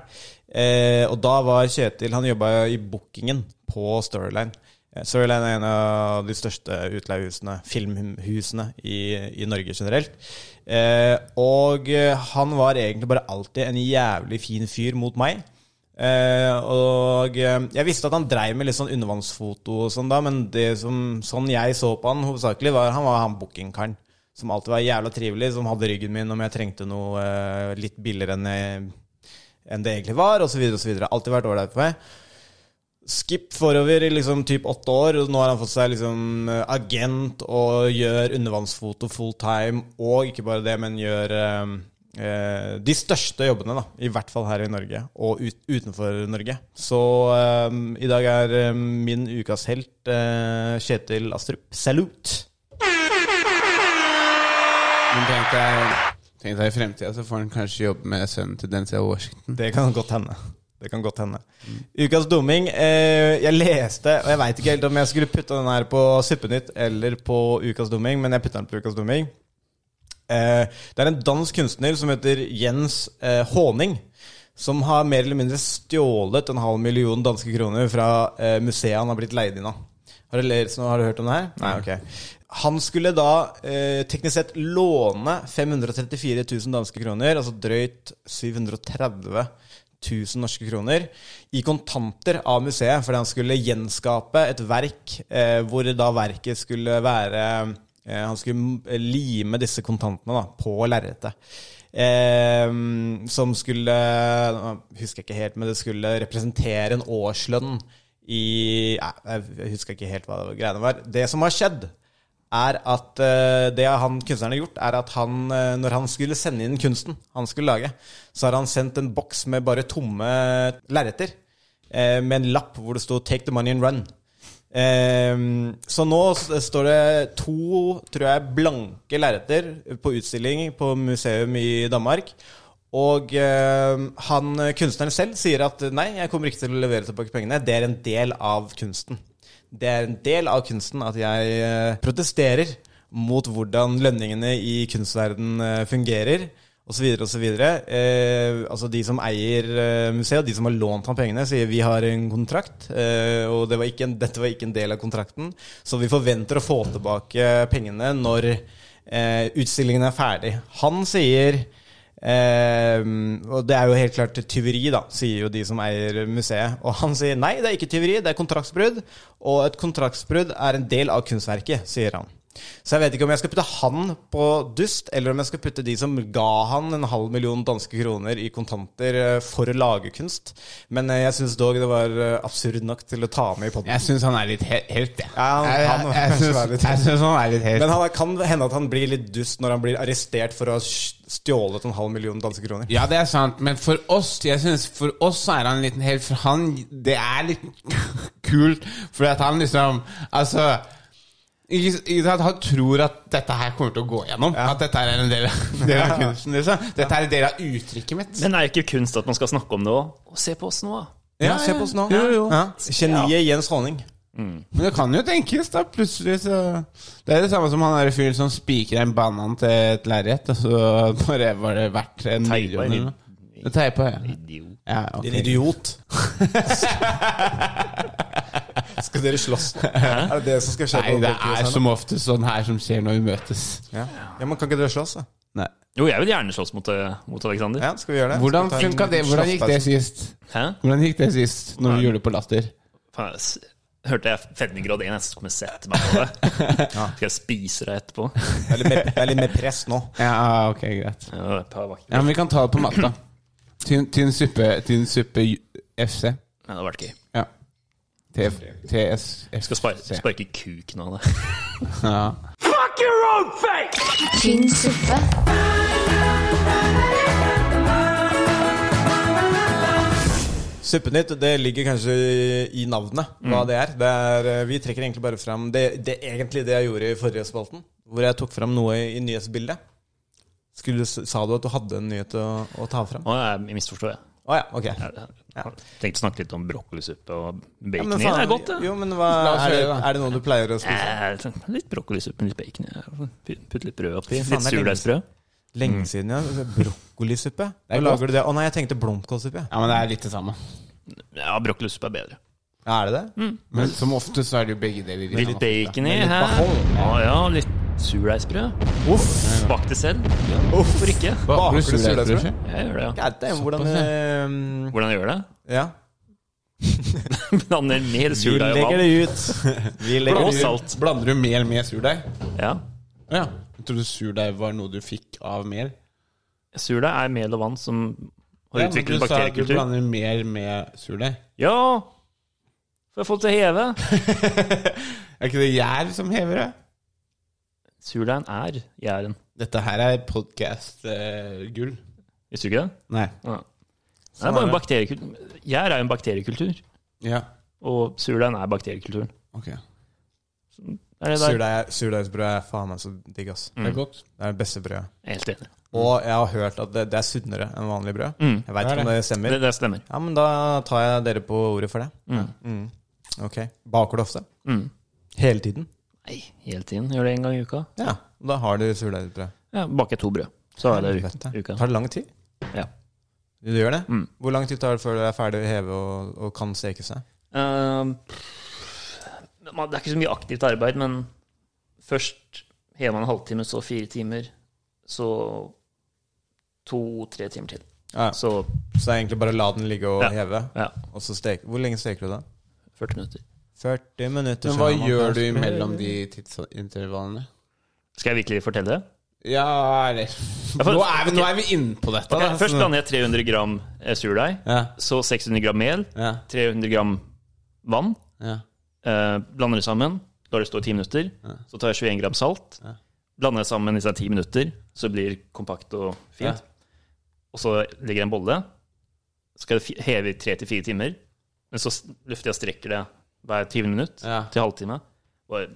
Speaker 2: Eh, og da var Kjetil Han jobba i bookingen på Storyline. Eh, Storyline er en av de største utleiehusene, filmhusene, i, i Norge generelt. Eh, og eh, han var egentlig bare alltid en jævlig fin fyr mot meg. Eh, og eh, jeg visste at han dreiv med litt sånn undervannsfoto og sånn da, men det som sånn jeg så på han hovedsakelig, var han var han bookingkaren. Som alltid var jævla trivelig, som hadde ryggen min om jeg trengte noe eh, litt billigere enn, jeg, enn det egentlig var, osv. osv. Alltid vært ålreit for meg. Skip forover i liksom typ åtte år, og nå har han fått seg liksom eh, agent og gjør undervannsfoto full time, og ikke bare det, men gjør eh, eh, de største jobbene, da, i hvert fall her i Norge, og ut, utenfor Norge. Så eh, i dag er eh, min ukas helt eh, Kjetil Astrup. Salut!
Speaker 3: Men tenk deg, tenk deg i fremtida, så får han kanskje jobbe med sønnen til Denzel Washington.
Speaker 2: Det kan godt hende. Det kan godt hende. Ukas dumming. Eh, jeg leste, og jeg veit ikke helt om jeg skulle putte den her på Suppenytt eller på Ukas dumming, men jeg putter den på Ukas dumming. Eh, det er en dansk kunstner som heter Jens eh, Håning, som har mer eller mindre stjålet en halv million danske kroner fra eh, museet han har blitt leid inn av. Har du, lest noe- har du hørt om det her? Nei, ok. Han skulle da eh, teknisk sett låne 534 000 danske kroner, altså drøyt 730 000 norske kroner, i kontanter av museet, fordi han skulle gjenskape et verk eh, hvor da verket skulle være Eh, Han skulle m- lime disse kontantene da, på lerretet. Eh, som skulle nå Husker jeg ikke helt, men det skulle representere en årslønn i Nei, Jeg husker ikke helt hva greiene var. Det som har skjedd, er at eh, det han kunstneren har gjort, er at han, eh, når han skulle sende inn kunsten han skulle lage, så har han sendt en boks med bare tomme lerreter. eh, Med en lapp hvor det sto 'Take the money and run'. Ehm, så nå s- står det to, tror jeg, blanke lerreter på utstilling på museum i Danmark. Og ehm, han kunstneren selv sier at nei, jeg kommer ikke til å levere tilbake pengene. Det er en del av kunsten. Det er en del av kunsten at jeg eh, protesterer mot hvordan lønningene i kunstverdenen eh, fungerer. Og så videre og så videre. Eh, altså De som eier eh, museet, og de som har lånt ham pengene, sier vi har en kontrakt, eh, og det var ikke en, dette var ikke en del av kontrakten, så vi forventer å få tilbake pengene når eh, utstillingen er ferdig. Han sier Eh, og det er jo helt klart tyveri, da, sier jo de som eier museet. Og han sier nei, det er ikke tyveri, det er kontraktsbrudd. Og et kontraktsbrudd er en del av kunstverket, sier han. Så jeg vet ikke om jeg skal putte han på dust, eller om jeg skal putte de som ga han en halv million danske kroner i kontanter eh, for å lage kunst. Men eh, jeg syns dog det var eh, absurd nok til å ta med i podden
Speaker 3: Jeg syns han er litt he helt, jeg.
Speaker 2: Ja, han-
Speaker 3: jeg,
Speaker 2: han
Speaker 3: jeg,
Speaker 2: må
Speaker 3: jeg,
Speaker 2: kanskje
Speaker 3: syns-
Speaker 2: være litt-
Speaker 3: jeg syns han er litt helt.
Speaker 2: Men han, kan hende at han blir litt dust når han blir arrestert for å ha stjålet en halv million danske kroner.
Speaker 3: Ja, det er sant, men for oss Jeg synes for oss så er han en liten helt For han, det er litt kult For at han liksom Altså ikke, ikke sant? Han tror at dette her kommer til å gå gjennom At dette her er en del av, del av kunsten liksom. Dette er en del av uttrykket mitt
Speaker 7: Men er det ikke kunst at man skal snakke om det òg? Og se på oss nå, da.
Speaker 2: Ja, se på oss nå.
Speaker 3: jo, jo.
Speaker 2: Ja. Geniet Jens Honning.
Speaker 3: Men det kan jo tenkes da Plutselig så Det er det samme som han der fyren som spiker en banan til et lærhet Og så bare var det verdt en
Speaker 7: Teipa en
Speaker 3: million eller noe. Det teipa, ja
Speaker 7: Idiot.
Speaker 3: ja, ok.
Speaker 2: Din idiot. skal dere slåss? Er det det som skal skje?
Speaker 3: Nei,
Speaker 2: på
Speaker 3: det
Speaker 2: podcasten
Speaker 3: er
Speaker 2: her nå?
Speaker 3: som ofte sånn her som skjer når vi møtes
Speaker 2: ja. ja, men Kan ikke dere slåss? da?
Speaker 3: Nei
Speaker 7: Jo, jeg vil gjerne slåss mot, eh, mot Alexander.
Speaker 2: Ja, skal vi gjøre det?
Speaker 3: Hvordan
Speaker 2: Skal vi ta en
Speaker 3: funka det? Hvordan gikk det
Speaker 2: slåssdag?
Speaker 3: sist?
Speaker 7: Hæ?
Speaker 3: Hvordan gikk det sist når vi
Speaker 7: Nei.
Speaker 3: gjorde det på Latter?
Speaker 7: Faen, jeg s- hørte jeg 15 grad 1, jeg skal komme og sette meg på det. Skal jeg spise deg etterpå?
Speaker 2: Det er litt mer- det er litt mer press nå.
Speaker 3: Ja, ah, ok, greit.
Speaker 7: Ja, det var ikke-
Speaker 3: Ja, Men vi kan ta det på matta. Tynn, tynn suppe Tynn suppe ju- FC.
Speaker 7: Ja, det var det ikke.
Speaker 3: Ja. T- TS
Speaker 7: Skal sparke, sparke kuken av det.
Speaker 3: Ja.
Speaker 1: Tynn suppe.
Speaker 2: Suppenytt det ligger kanskje i navnet,
Speaker 3: Mm.
Speaker 2: hva det er. Det er eh, vi trekker egentlig bare fram det, det er egentlig det jeg gjorde i forrige spalten, hvor jeg tok fram noe i nyhetsbildet. Skulle, sa du at du hadde en nyhet å, å ta fram? Å
Speaker 7: Å, jeg misforstår, jeg.
Speaker 2: ja, ok.
Speaker 7: Jeg- jeg Tenkte å snakke litt om brokkolisuppe og
Speaker 2: Ja,
Speaker 7: bacon
Speaker 2: men
Speaker 7: i.
Speaker 2: faen,
Speaker 7: Det er godt, det.
Speaker 2: Jo, men hva,
Speaker 3: La oss
Speaker 2: er, det,
Speaker 3: høre, da.
Speaker 2: er det noe du pleier å spise?
Speaker 7: Eh, Litt brokkolisuppe, litt bacon i. Putt litt brød
Speaker 2: Fy
Speaker 7: oppi.
Speaker 2: faen,
Speaker 7: Litt
Speaker 2: det er lenge
Speaker 7: surdeigsbrød.
Speaker 2: Lenge siden, ja. Brokkolisuppe?
Speaker 3: Det er
Speaker 2: Hva
Speaker 3: godt.
Speaker 2: lager du det? Å nei, jeg tenkte blomkålsuppe. Ja.
Speaker 3: ja, men det er litt det samme.
Speaker 7: Ja, brokkolisuppe er bedre.
Speaker 2: Ja, er det det?
Speaker 3: Men som ofte så er det jo begge deler. i samme.
Speaker 7: Litt bacon i.
Speaker 2: Med litt
Speaker 7: hæ?
Speaker 2: behold.
Speaker 7: Å ja, litt surdeigsbrød.
Speaker 2: Uff!
Speaker 7: Bak det selv. Ja, hvorfor ikke?
Speaker 3: Baker du
Speaker 2: Baker du
Speaker 3: surdeigsbrød?
Speaker 2: surdeigsbrød?
Speaker 7: Jeg gjør det, ja.
Speaker 2: Ja, det er jo hvordan eh,
Speaker 7: Hvordan jeg gjør det?
Speaker 2: Ja.
Speaker 7: Blander mer
Speaker 2: Vi
Speaker 7: surdeig og
Speaker 2: legger
Speaker 7: vann.
Speaker 2: det ut. Vi legger
Speaker 7: Og
Speaker 2: det ut.
Speaker 7: salt.
Speaker 3: Blander du mel med surdeig?
Speaker 7: Ja.
Speaker 3: Ja. Jeg trodde surdeig var noe du fikk av mel.
Speaker 7: Surdeig er mel og vann som har
Speaker 3: Ja, men du
Speaker 7: utviklet
Speaker 3: sa at du
Speaker 7: bakteriekultur.
Speaker 3: blander mel med surdeig.
Speaker 7: Ja! For jeg har fått det heve.
Speaker 3: Er ikke det gjær som hever det?
Speaker 7: Surdeigen er gjæren.
Speaker 3: Dette her er podkast-gull.
Speaker 7: Visste du ikke det?
Speaker 3: Nei.
Speaker 7: Ja. Det er bare en bakteriekultur. Gjær er jo en bakteriekultur,
Speaker 3: Ja.
Speaker 7: og surdeigen er bakteriekulturen.
Speaker 3: Ok.
Speaker 7: Er det der?
Speaker 2: Surdeig- Surdeigsbrød er faen meg så digg, ass.
Speaker 3: Det er godt.
Speaker 2: Det er det beste brødet.
Speaker 7: Jeg er Helt enig.
Speaker 2: Og jeg har hørt at det, det er sunnere enn vanlig brød.
Speaker 7: Mm.
Speaker 2: Jeg veit
Speaker 3: Det er
Speaker 2: ikke om det stemmer.
Speaker 7: Det, det stemmer.
Speaker 2: Ja, men da tar jeg dere på ordet for det.
Speaker 7: Mm.
Speaker 2: Ok. Baker du ofte?
Speaker 7: Mm.
Speaker 2: Hele tiden?
Speaker 7: Nei, hele tiden. Gjør det en gang i uka.
Speaker 2: Ja. Da har du surdeigsbrød.
Speaker 7: Ja, baker jeg to brød. Så har jeg
Speaker 2: Helvete.
Speaker 7: det i uka.
Speaker 2: Tar det lang tid?
Speaker 7: Ja.
Speaker 2: Du gjør det?
Speaker 7: Mm.
Speaker 2: Hvor lang tid tar det før du er ferdig å heve og, og kan steke seg?
Speaker 7: Ehm, man- det er ikke så mye aktivt arbeid, men først hever man en halvtime, så fire timer, så to-tre timer til.
Speaker 2: Ja.
Speaker 7: Så
Speaker 2: Så det er egentlig bare å la den ligge og
Speaker 7: Ja.
Speaker 2: heve,
Speaker 7: ja,
Speaker 2: og så steke. Hvor lenge steker du da?
Speaker 7: 40 minutter.
Speaker 2: 40 minutter.
Speaker 3: Men hva
Speaker 2: skjønner man.
Speaker 3: gjør du imellom de tidsintervallene?
Speaker 7: Skal jeg virkelig fortelle det?
Speaker 3: Ja, eller
Speaker 7: Ja, for-
Speaker 3: Nå er vi, nå er vi inne på dette.
Speaker 7: Ok,
Speaker 3: da,
Speaker 7: først
Speaker 3: så-
Speaker 7: blander jeg 300 gram eh, surdeig,
Speaker 3: sånn. ja,
Speaker 7: så 600 gram mel,
Speaker 3: ja,
Speaker 7: 300 gram vann.
Speaker 3: ja.
Speaker 7: Eh, blander det sammen, lar det stå i 10 minutter.
Speaker 3: Ja.
Speaker 7: Så tar jeg 21 gram salt.
Speaker 3: Ja.
Speaker 7: Blander det sammen i seg 10 minutter, så blir det kompakt og fint.
Speaker 3: Ja.
Speaker 7: Og så legger jeg en bolle. Så skal det fi- heve i 3-4 timer. Men så s- løfter jeg og strekker det hver 20 minutt
Speaker 3: Ja.
Speaker 7: til halvtime. Og,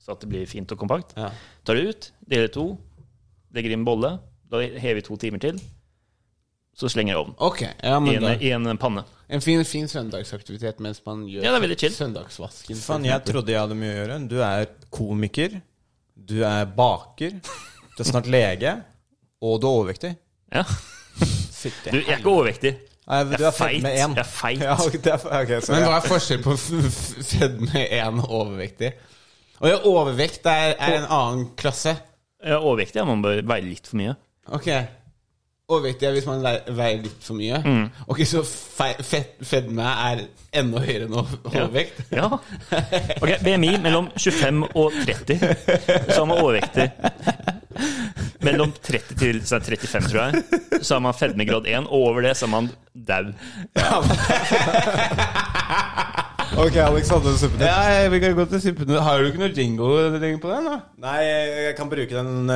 Speaker 7: så at det blir fint og kompakt.
Speaker 3: ja.
Speaker 7: Tar det ut, deler i to, legger inn en bolle. Da hever vi to timer til. Så slenger jeg i ovnen.
Speaker 3: Ok. Ja,
Speaker 7: I
Speaker 3: men
Speaker 7: en,
Speaker 3: da.
Speaker 7: I en panne.
Speaker 3: En fin, fin søndagsaktivitet mens man gjør
Speaker 7: Ja, det er veldig chill.
Speaker 3: søndagsvasken. for
Speaker 2: Faen, jeg
Speaker 3: eksempel.
Speaker 2: trodde jeg hadde mye å gjøre. Du er komiker, du er baker, du er snart lege, og du er overvektig.
Speaker 7: Ja.
Speaker 2: Fytti.
Speaker 7: Du, jeg er ikke overvektig.
Speaker 2: Nei,
Speaker 7: Jeg
Speaker 2: du
Speaker 7: er
Speaker 2: er feit
Speaker 7: feit.
Speaker 2: med én.
Speaker 7: Jeg er feit.
Speaker 2: Ja, ok, det er fe- ok, så
Speaker 3: Men
Speaker 2: ja.
Speaker 3: hva er forskjellen på f- f- fedme én og overvektig? Og ja, overvekt er, er en annen klasse.
Speaker 7: Jeg er overvektig, ja. Man bør veie litt for mye.
Speaker 3: Ok. overvektig er hvis man vei- veier litt for mye. Ok, så fe- fett- fedme er enda høyere enn ov- overvekt?
Speaker 7: Ja. Ok, BMI mellom 25 og 30. Så er man overvektig. Mellom 30 til så er det 35, tror jeg, så er man fedmegrad 1. Og over det så er man dau.
Speaker 2: Ok, Alexander Suppenøtt.
Speaker 3: Ja, vi kan gå til Sippene. Har du ikke noe jingle lenger på den, da?
Speaker 2: Nei, jeg kan bruke den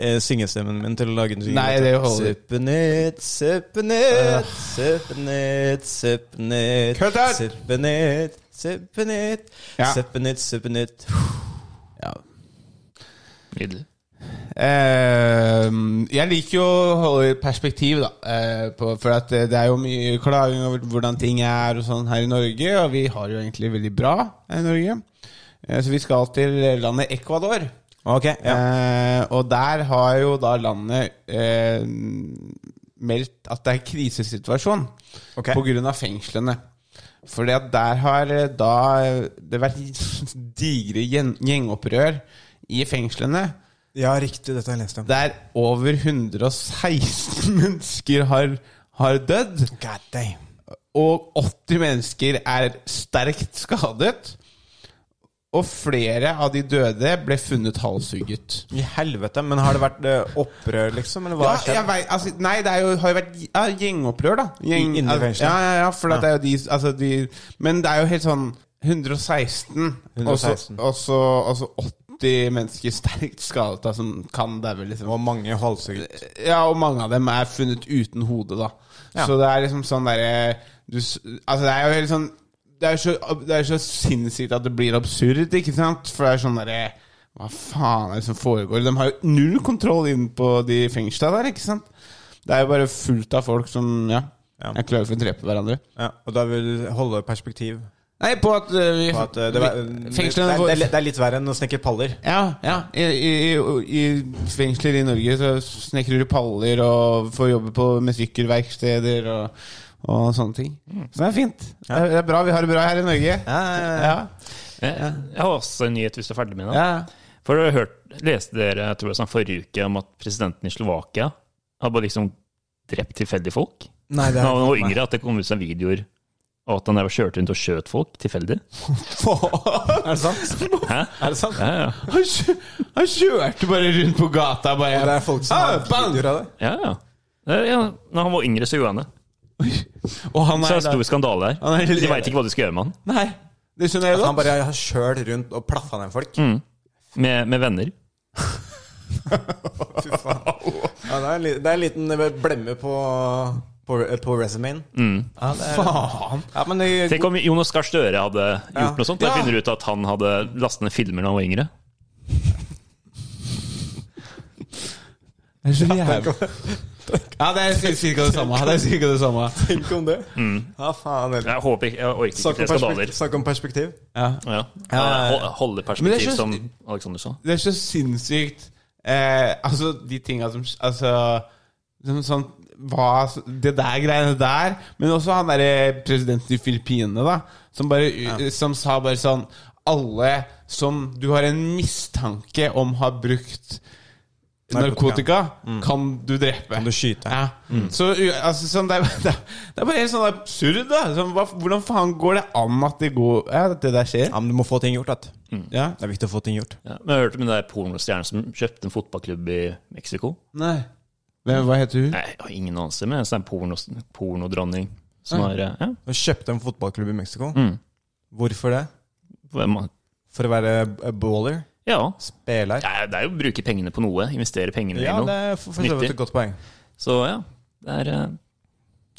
Speaker 2: eh, syngestemmen min til å lage en jingle.
Speaker 3: Nei, det holder. Ah.
Speaker 2: Suppenytt, suppenytt, suppenytt, suppenytt.
Speaker 3: Kødd her!
Speaker 2: Suppenytt, suppenytt,
Speaker 3: Ja.
Speaker 2: suppenytt, suppenytt.
Speaker 3: Ja.
Speaker 7: Nydelig.
Speaker 3: Eh, jeg liker jo å holde perspektiv, da. Eh, på, for at eh, det er jo mye klaging over hvordan ting er og sånn her i Norge, og vi har jo egentlig veldig bra her i Norge. Eh, så vi skal til landet Ecuador.
Speaker 2: Ok, ja.
Speaker 3: Eh, og der har jo da landet eh, meldt at det er krisesituasjon
Speaker 2: Ok.
Speaker 3: på grunn av fengslene. Fordi at der har eh, da eh, det vært digre gjen- gjengopprør i fengslene.
Speaker 2: ja, riktig. Dette har jeg lest om.
Speaker 3: Der over 116 mennesker har, har dødd,
Speaker 2: God damn.
Speaker 3: og 80 mennesker er sterkt skadet. Og flere av de døde ble funnet halshugget.
Speaker 2: I helvete, men har det vært eh, opprør, liksom? Eller hva
Speaker 3: Ja,
Speaker 2: har skjedd?
Speaker 3: jeg vet, altså, nei, det er jo, har jo vært ja, gjengopprør, da. altså,
Speaker 2: I- inni fengselet.
Speaker 3: Ja, ja, ja, for det er jo de, altså, de Men det er jo helt sånn 116, og så-
Speaker 2: 116.
Speaker 3: og så og så 80 mennesker sterkt skadet da, som kan daue, liksom.
Speaker 2: Og mange halshugget.
Speaker 3: Ja, og mange av dem er funnet uten hode, da.
Speaker 2: Ja.
Speaker 3: Så det er liksom sånn derre du s- Altså, det er jo helt sånn det er, så, det er så sinnssykt at det blir absurd, ikke sant? For det er sånn derre Hva faen er det som foregår? De har jo null kontroll inn på de fengsla der, ikke sant? Det er jo bare fullt av folk som ja,
Speaker 2: Ja.
Speaker 3: er klare for å drepe hverandre.
Speaker 2: Ja, og da vil du holde perspektiv
Speaker 3: Nei, på at uh, vi
Speaker 2: på at eh, det, var,
Speaker 3: vi-
Speaker 2: det,
Speaker 3: fengslene
Speaker 2: er-
Speaker 3: får-
Speaker 2: det, er- det er litt verre enn å snekre paller.
Speaker 3: Ja, ja. I, i, i i fengsler i Norge så snekrer du paller og får jobbe på med sykkelverksteder og, og sånne ting. Så det er fint. Det, er, det er bra. Vi har det bra her i Norge. Mm. ja.
Speaker 7: Jeg, jeg har også en nyhet hvis du er ferdig med den.
Speaker 3: ja.
Speaker 7: For dere hørt, leste dere jeg tror det var sånn forrige uke om at presidenten i Slovakia hadde bare liksom drept tilfeldige folk?
Speaker 2: Nei,
Speaker 7: Da han var yngre, at det kom ut sånne videoer av at han der kjørte rundt og skjøt folk tilfeldig.
Speaker 2: Er det sant?
Speaker 7: Hæ?
Speaker 2: Er det sant?
Speaker 7: Ja, ja.
Speaker 3: Han, kjø, han kjørte bare rundt på gata. Bare,
Speaker 2: Og det er folk som
Speaker 3: Ah,
Speaker 2: har
Speaker 3: bang!
Speaker 2: videoer av det.
Speaker 7: ja, ja. ja, ja. Når han var yngre, så gjorde han det.
Speaker 3: Og han
Speaker 7: Så det
Speaker 3: er
Speaker 7: er en stor skandale
Speaker 3: Han er
Speaker 7: her.
Speaker 3: litt-
Speaker 7: De veit ikke hva de skal gjøre med han.
Speaker 3: Nei, det skjønner jeg
Speaker 2: Han
Speaker 3: godt.
Speaker 2: bare har kjørt rundt og plaffa ned folk.
Speaker 7: Mm. Med, med venner.
Speaker 2: Fy faen. Ja, det, er en, li- det er en liten blemme på, på, på resumen. Ja, det er,
Speaker 3: Faen.
Speaker 2: ja, men det,
Speaker 7: Tenk om Jonas Gahr Støre hadde gjort
Speaker 2: Ja.
Speaker 7: noe sånt. Da
Speaker 3: Ja.
Speaker 7: finner du ut at han hadde lastet ned filmer da han var yngre.
Speaker 3: Det er så jævlig. Ja, det er cirka det samme. Det er cirka det samme.
Speaker 2: tenk om det! Ja, faen heller.
Speaker 7: Jeg håper ikke, jeg orker Mm. ikke
Speaker 2: Snakk om,
Speaker 7: flere skandaler.
Speaker 2: perspek- snakk om perspektiv.
Speaker 3: Ja.
Speaker 7: Ja.
Speaker 2: ja, ja.
Speaker 7: Hol- Holde
Speaker 3: Men det er
Speaker 7: perspektiv,
Speaker 3: så-
Speaker 7: som Alexander sa.
Speaker 3: Det er så sinnssykt eh, Altså, de tinga som Altså som, sånn, hva, Det der greiene der. Men også han derre presidenten i Filippinene, da. Som, bare, eh, som sa bare sånn Alle som du har en mistanke om har brukt narkotika, kan du drepe.
Speaker 2: Mm. Kan du skyte. Mm.
Speaker 3: Ja. Så u- altså, sånn, det, er, det er- det er bare helt sånn absurd, da. Sånn, hva, hvordan faen går det an at det, går, ja, at det der skjer?
Speaker 2: Ja, men du må få ting gjort, vet du.
Speaker 3: Ja.
Speaker 2: Det er viktig å få ting gjort.
Speaker 7: Ja. Men jeg hørte om den der pornostjernen som kjøpte en fotballklubb i Mexico.
Speaker 3: Nei. Hvem, hva heter hun?
Speaker 7: Nei, jeg har ingen anelse, men det er en porno, pornodronning som har eh, ja,
Speaker 2: Du kjøpte en fotballklubb i Mexico.
Speaker 7: Mm.
Speaker 2: Hvorfor det?
Speaker 7: hvem har-
Speaker 2: For å være eh, baller?
Speaker 7: ja.
Speaker 2: Spiller?
Speaker 7: Det er- det er jo å bruke pengene på noe. Investere pengene
Speaker 2: Ja,
Speaker 7: i noe.
Speaker 2: det er for for så vidt
Speaker 7: Nyttig.
Speaker 2: et godt poeng.
Speaker 7: Så ja. Det er eh,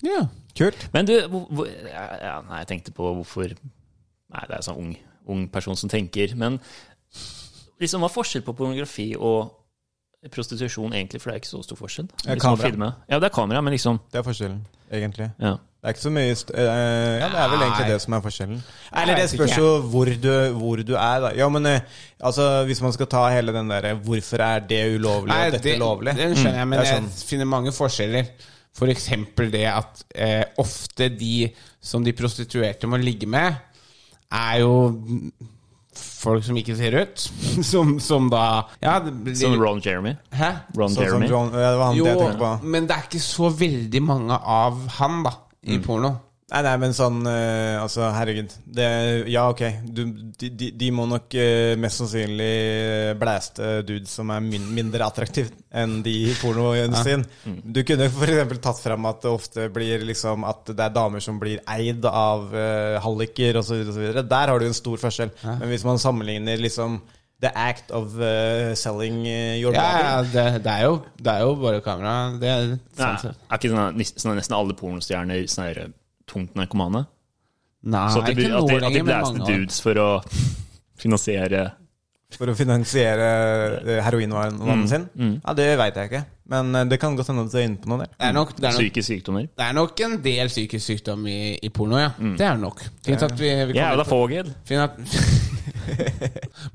Speaker 3: Ja.
Speaker 2: Kult.
Speaker 7: Men du, hvor, hvor, ja, ja, nei, jeg tenkte på hvorfor Nei, det er sånn ung, ung person som tenker. Men liksom, hva er forskjell på pornografi og prostitusjon egentlig? For det er ikke så stor forskjell.
Speaker 2: er
Speaker 7: Liksom, å
Speaker 2: kamera.
Speaker 7: filme. Ja, det er kamera, men liksom
Speaker 2: Det er forskjellen, egentlig.
Speaker 7: ja.
Speaker 2: Det er ikke så mye st eh, Ja, det er vel egentlig det som er forskjellen. Eller det
Speaker 3: vet
Speaker 2: spørs
Speaker 3: ikke.
Speaker 2: jo hvor du, hvor du er, da. Ja, men eh, altså, hvis man skal ta hele den derre 'hvorfor er det ulovlig,
Speaker 3: Nei,
Speaker 2: og dette
Speaker 3: det,
Speaker 2: lovlig'
Speaker 3: Den skjønner
Speaker 7: Mm.
Speaker 3: jeg, men
Speaker 2: Det er
Speaker 7: sånn.
Speaker 3: jeg finner mange forskjeller. For eksempel det at eh, ofte de som de prostituerte må ligge med, er jo folk som ikke ser rødt. Som, som da ja, det blir-
Speaker 7: Som Ron Jeremy.
Speaker 3: Hæ?
Speaker 7: Ron
Speaker 2: Sånn som
Speaker 7: Jeremy.
Speaker 2: John, ja, det var han
Speaker 3: Jo,
Speaker 2: det jeg tenkte på.
Speaker 3: men det er ikke så veldig mange av han, da,
Speaker 7: Mm.
Speaker 3: i porno.
Speaker 2: Nei, nei, men sånn eh, Altså, herregud. Det, ja, ok. Du, de, de, de må nok eh, mest sannsynlig blæste dudes som er min, mindre attraktiv enn de i pornoindustrien.
Speaker 3: Mm.
Speaker 2: Du kunne f.eks. tatt fram at det ofte blir liksom at det er damer som blir eid av uh, halliker osv. Der har du en stor forskjell. Men hvis man sammenligner liksom the act of eh, selling eh, your
Speaker 3: Ja,
Speaker 2: body
Speaker 3: ja det, det, er jo, det er jo bare kamera. Det er
Speaker 7: Nei,
Speaker 3: sant.
Speaker 7: er ikke sånn, at sånn, at nesten alle pornostjerner sånn her, tungt narkomane?
Speaker 3: Nei,
Speaker 7: Så at de,
Speaker 3: ikke
Speaker 7: at de,
Speaker 3: noe
Speaker 7: at de
Speaker 3: lenger, men
Speaker 7: blæste
Speaker 3: mange av dem.
Speaker 7: dudes for å finansiere
Speaker 2: for å finansiere eh, heroinvanen
Speaker 3: Mm.
Speaker 2: sin? Ja, Det veit jeg ikke. Men eh, det kan godt hende at du er inne på noe der.
Speaker 3: Det er nok, det er nok,
Speaker 7: psykiske sykdommer.
Speaker 3: det er nok en del psykisk sykdom i, i porno, ja.
Speaker 2: Mm.
Speaker 3: Det er det nok. Fint at vi, vi kommer-
Speaker 7: Jævla Fogel!
Speaker 3: Fin at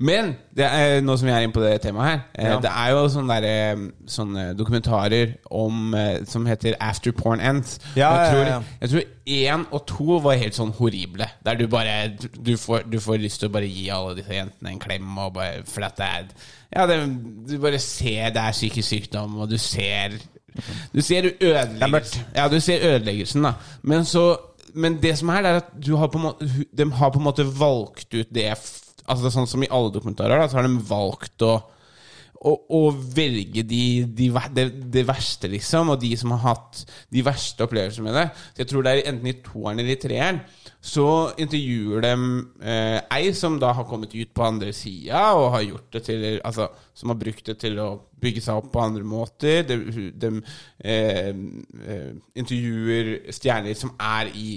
Speaker 3: Men det er, nå som vi er inne på det temaet her eh, Det er jo sånne, der, eh, sånne dokumentarer om, eh, som heter After Porn Ends.
Speaker 2: Ja,
Speaker 3: jeg, tror,
Speaker 2: ja, ja.
Speaker 3: jeg tror én og to var helt sånn horrible. Der du bare du får, du får lyst til å bare gi alle disse jentene en klem. Og bare, for at det er ja, det, Du bare ser det er psykisk sykdom, og du ser Du ser ødeleggelsen. Ja, du ser ødeleggelsen, da. Men så men det som er, det er at du har på en måte, hu- de har på en måte valgt ut det f- Altså det er Sånn som i alle dokumentarer, da, så har de valgt å, å, å velge de, de, ver- det, det verste, liksom. Og de som har hatt de verste opplevelsene med det. Så jeg tror det er enten i toeren eller i treeren. Så intervjuer de eh, ei som da har kommet ut på andre sida, og har gjort det til Altså som har brukt det til å bygge seg opp på andre måter. De, de eh, eh, intervjuer stjerner som er i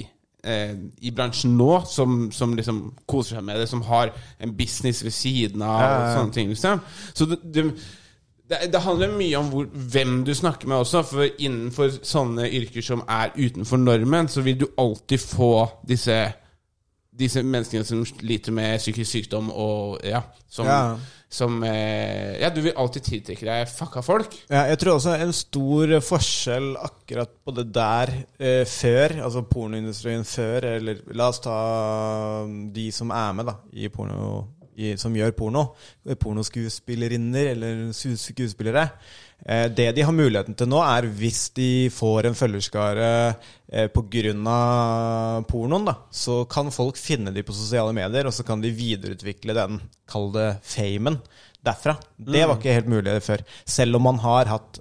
Speaker 3: eh, i bransjen nå, som, som liksom koser seg med det, som har en business ved siden av og sånne ting. liksom Så det, det, det, det handler mye om hvor, hvem du snakker med også, for innenfor sånne yrker som er utenfor normen, så vil du alltid få disse disse menneskene som sliter med psykisk sykdom og ja, som,
Speaker 2: Ja.
Speaker 3: som eh, Ja, du vil alltid tiltrekke deg fucka folk.
Speaker 2: Ja, jeg tror også en stor forskjell akkurat på det der eh, før, altså pornoindustrien før, eller la oss ta um, de som er med da, i porno, i, som gjør porno, eh, pornoskuespillerinner eller su- skuespillere. Eh, det de har muligheten til nå er hvis de får en følgerskare eh, på grunn av pornoen, da, så kan folk finne de på sosiale medier, og så kan de videreutvikle den, kall det famen derfra. Det var ikke helt mulig før. Selv om man har hatt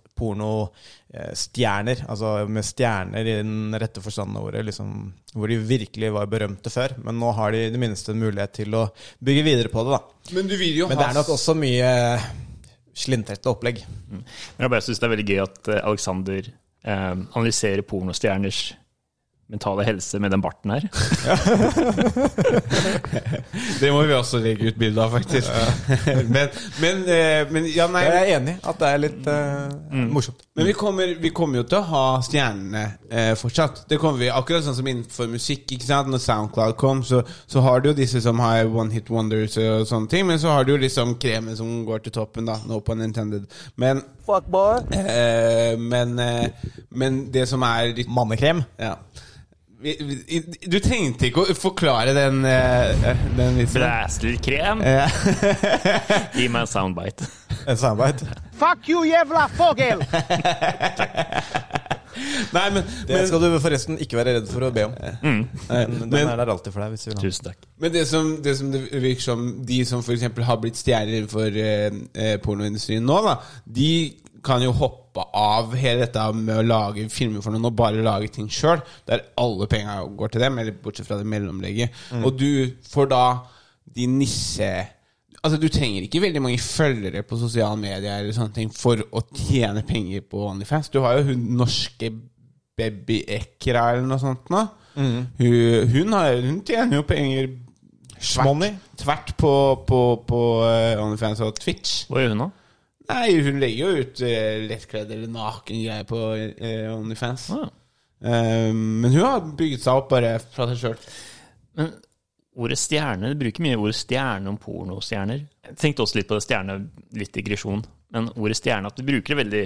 Speaker 2: pornostjerner, altså med stjerner i den rette forstand av ordet, liksom, hvor de virkelig var berømte før. Men nå har de i det minste en mulighet til å bygge videre på det, da.
Speaker 3: Men du vil jo
Speaker 2: Men det er nok også mye slintrete opplegg.
Speaker 7: Men jeg bare syns det er veldig gøy at eh, Alexander eh, analyserer pornostjerners mentale helse med den barten her.
Speaker 3: Det må vi også legge ut bilde av, faktisk. men, men, eh, men ja, nei.
Speaker 2: Jeg er enig i at det er litt eh, morsomt.
Speaker 3: Men vi kommer, vi kommer jo til å ha stjernene eh, fortsatt. Det kommer vi, Akkurat sånn som innenfor musikk. ikke sant? Når SoundCloud kom, så, så har du jo disse som har One Hit Wonders og sånne ting. Men så har du jo liksom kremen som går til toppen, da. No pun intended. Men, eh, men, eh, men det som er litt
Speaker 2: Mannekrem.
Speaker 3: Ja. Vi, vi, du trengte ikke å forklare den, eh, den vitsen.
Speaker 7: Blæsterkrem!
Speaker 3: Ja.
Speaker 7: Gi meg en soundbite.
Speaker 2: Et samarbeid.
Speaker 4: Fuck you, jævla fogel!
Speaker 3: Nei, men,
Speaker 2: Det
Speaker 3: men,
Speaker 2: skal du forresten ikke være redd for å be om. Den, den er der alltid for deg. hvis du vil ha den.
Speaker 7: Tusen takk.
Speaker 3: men det, som, det som det virker som de som f.eks. har blitt stjerner innenfor eh, eh, pornoindustrien nå, da, de kan jo hoppe av hele dette med å lage filmer for noen og bare lage ting sjøl, der alle penga går til dem, eller bortsett fra det mellomlegget. Og du får da de nisse... Altså, Du trenger ikke veldig mange følgere på sosiale medier eller sånne ting for å tjene penger på OnlyFans. Du har jo hun norske Baby Ekra eller noe sånt. nå Hun, hun, har, hun tjener jo penger tvert, tvert på, på, på eh, OnlyFans og Twitch.
Speaker 7: Hva gjør hun nå?
Speaker 3: Nei, hun legger jo ut eh, lettkledd eller naken greier på eh, OnlyFans.
Speaker 7: Ah.
Speaker 3: Eh, men hun har bygget seg opp bare fra seg sjøl.
Speaker 7: Men ordet stjerne, det bruker mye ordet stjerne om pornostjerner. Jeg tenkte også litt på det stjerne, litt digresjon. Men ordet stjerne, at du bruker det veldig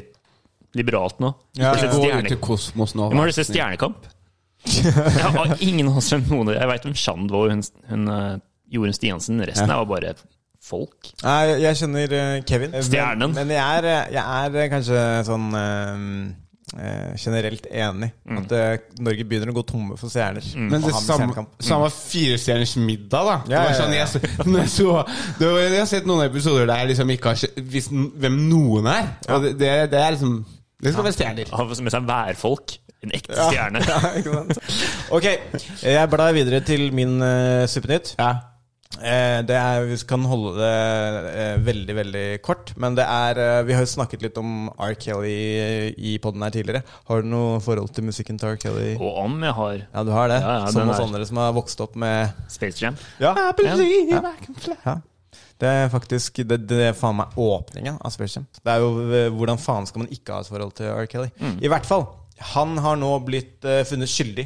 Speaker 7: liberalt nå.
Speaker 2: Ja,
Speaker 7: Spesielt
Speaker 3: Går
Speaker 7: stjerne-
Speaker 3: ut i kosmos nå.
Speaker 7: Vi må ha lyst
Speaker 3: vær så
Speaker 7: til
Speaker 3: snill.
Speaker 7: Stjernekamp. Jeg har ingen anelse om noen Jeg veit om Shand var hun, hun eh, Jorunn Stiansen. Resten er jo bare folk.
Speaker 2: Nei, jeg kjenner eh, Kevin.
Speaker 7: Stjernen.
Speaker 2: Men, men jeg, er, eh, jeg er eh, kanskje sånn eh, eh, generelt enig.
Speaker 7: Mm.
Speaker 2: At eh, Norge begynner å gå tomme for stjerner.
Speaker 3: Men
Speaker 2: Og
Speaker 3: det
Speaker 2: ha med
Speaker 3: samme,
Speaker 2: stjernekamp.
Speaker 3: samme firestjerners middag, da.
Speaker 2: Ja,
Speaker 3: det var
Speaker 2: ja,
Speaker 3: sånn,
Speaker 2: ja.
Speaker 3: jeg, så- når jeg, så, det var, jeg har sett noen episoder der jeg liksom ikke har skj- visst n- hvem noen er. Og det, det, det er liksom Det skal være stjerner.
Speaker 7: Har med seg værfolk. En ekte stjerne.
Speaker 2: Ja, ikke sant? Ok, jeg blar videre til min eh, Suppenytt.
Speaker 3: Ja.
Speaker 2: Eh, det er, vi kan holde det eh, veldig veldig kort, men det er eh, Vi har jo snakket litt om R. Kelly i poden her tidligere. Har du noe forhold til musikken til R. Kelly?
Speaker 7: Og om jeg har
Speaker 2: Ja, du har det?
Speaker 7: Ja, ja,
Speaker 2: som
Speaker 7: den
Speaker 2: oss
Speaker 7: er-
Speaker 2: andre som har vokst opp med
Speaker 7: Space Jam
Speaker 2: Ja,
Speaker 7: believe
Speaker 2: ja. Ja. Det er faktisk Det, det er faen meg åpningen av Space Jam. Det er jo eh, Hvordan faen skal man ikke ha et forhold til R. Kelly? I hvert fall. Han har nå blitt eh, funnet skyldig.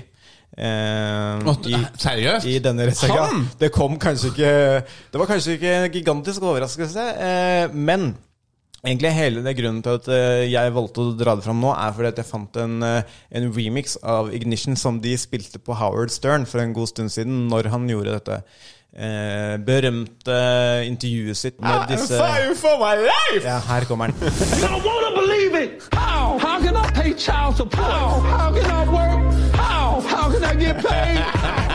Speaker 2: eh,
Speaker 3: Å,
Speaker 2: i,
Speaker 3: seriøst?
Speaker 2: I denne rettssaken.
Speaker 3: Han?
Speaker 2: Det kom kanskje ikke Det var kanskje ikke en gigantisk overraskelse, eh, men Egentlig hele det grunnen til at eh, jeg valgte å dra det fram nå, er fordi at jeg fant en, eh, en remix av Ignition som de spilte på Howard Stern for en god stund siden, når han gjorde dette eh, berømte intervjuet sitt
Speaker 3: Ah,
Speaker 2: med disse
Speaker 3: for my life!
Speaker 2: Ja, her kommer den.
Speaker 10: I wanna believe it. How? How can I pay child support? How can I work? How? How can I get paid?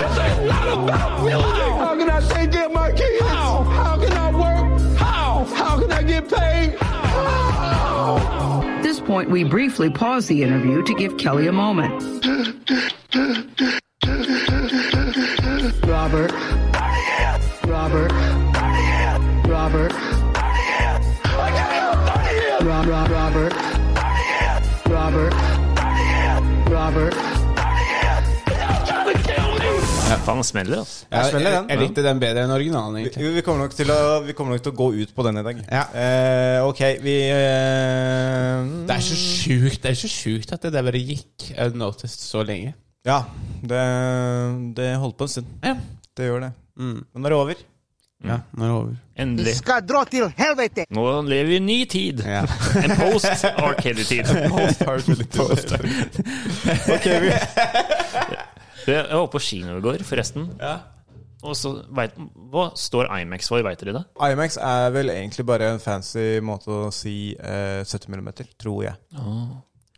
Speaker 10: this ain't not about music. How can I take care of my kids? How? How can I work? How? How can I get paid? At this point, we briefly pause the interview to give Kelly a moment. Robert. Robert. Robert. Rob, Rob, Robert. Robert. Robert.
Speaker 7: Faen, det smeller, altså.
Speaker 3: Jeg,
Speaker 2: smeller
Speaker 3: jeg,
Speaker 2: den.
Speaker 3: jeg likte den bedre enn originalen, egentlig.
Speaker 2: Vi vi kommer, nok til å, vi kommer nok til å gå ut på den i dag.
Speaker 3: Ja.
Speaker 2: Eh, ok, vi eh,
Speaker 3: Det er så sjukt Det er så sjukt at det der bare gikk unnoticed så lenge.
Speaker 2: Ja, det, det holdt på en stund.
Speaker 3: Ja.
Speaker 2: Det gjør det. Men nå er det over.
Speaker 3: Ja, nå er det over.
Speaker 7: Endelig.
Speaker 4: Ska dra till helvete!
Speaker 7: Nå lever vi i en ny tid.
Speaker 3: Ja.
Speaker 7: En post Arcady-tid.
Speaker 2: Ok, vi,
Speaker 7: Jeg var på kino i går, forresten. Og så vet, Hva står Imax for, veit dere det?
Speaker 2: IMAX er vel egentlig bare en fancy måte å si eh, 70 mm, tror jeg.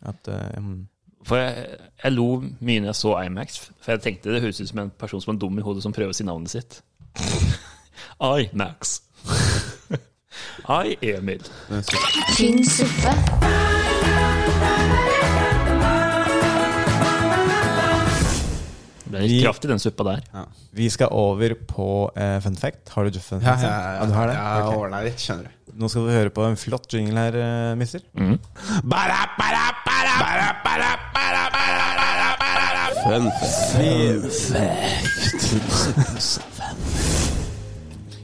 Speaker 2: At, eh, mm.
Speaker 7: For jeg, jeg lo mye når jeg så Imax, for jeg tenkte det høres ut som en person som er dum i hodet som prøver å si navnet sitt. Imax. I Emil.
Speaker 1: Tynn suppe.
Speaker 7: Det ble litt kraft i den suppa der.
Speaker 2: Vi skal over på eh, fun fact. Har du fun fact? Sam? du har det?
Speaker 3: Ja,
Speaker 2: Ok.
Speaker 3: jeg ordnet litt, skjønner du.
Speaker 2: Nå skal vi høre på en flott jingle her, eh, mister.
Speaker 3: Bara, bara, bara, bara, bara, bara, bara, bara, bara. Fun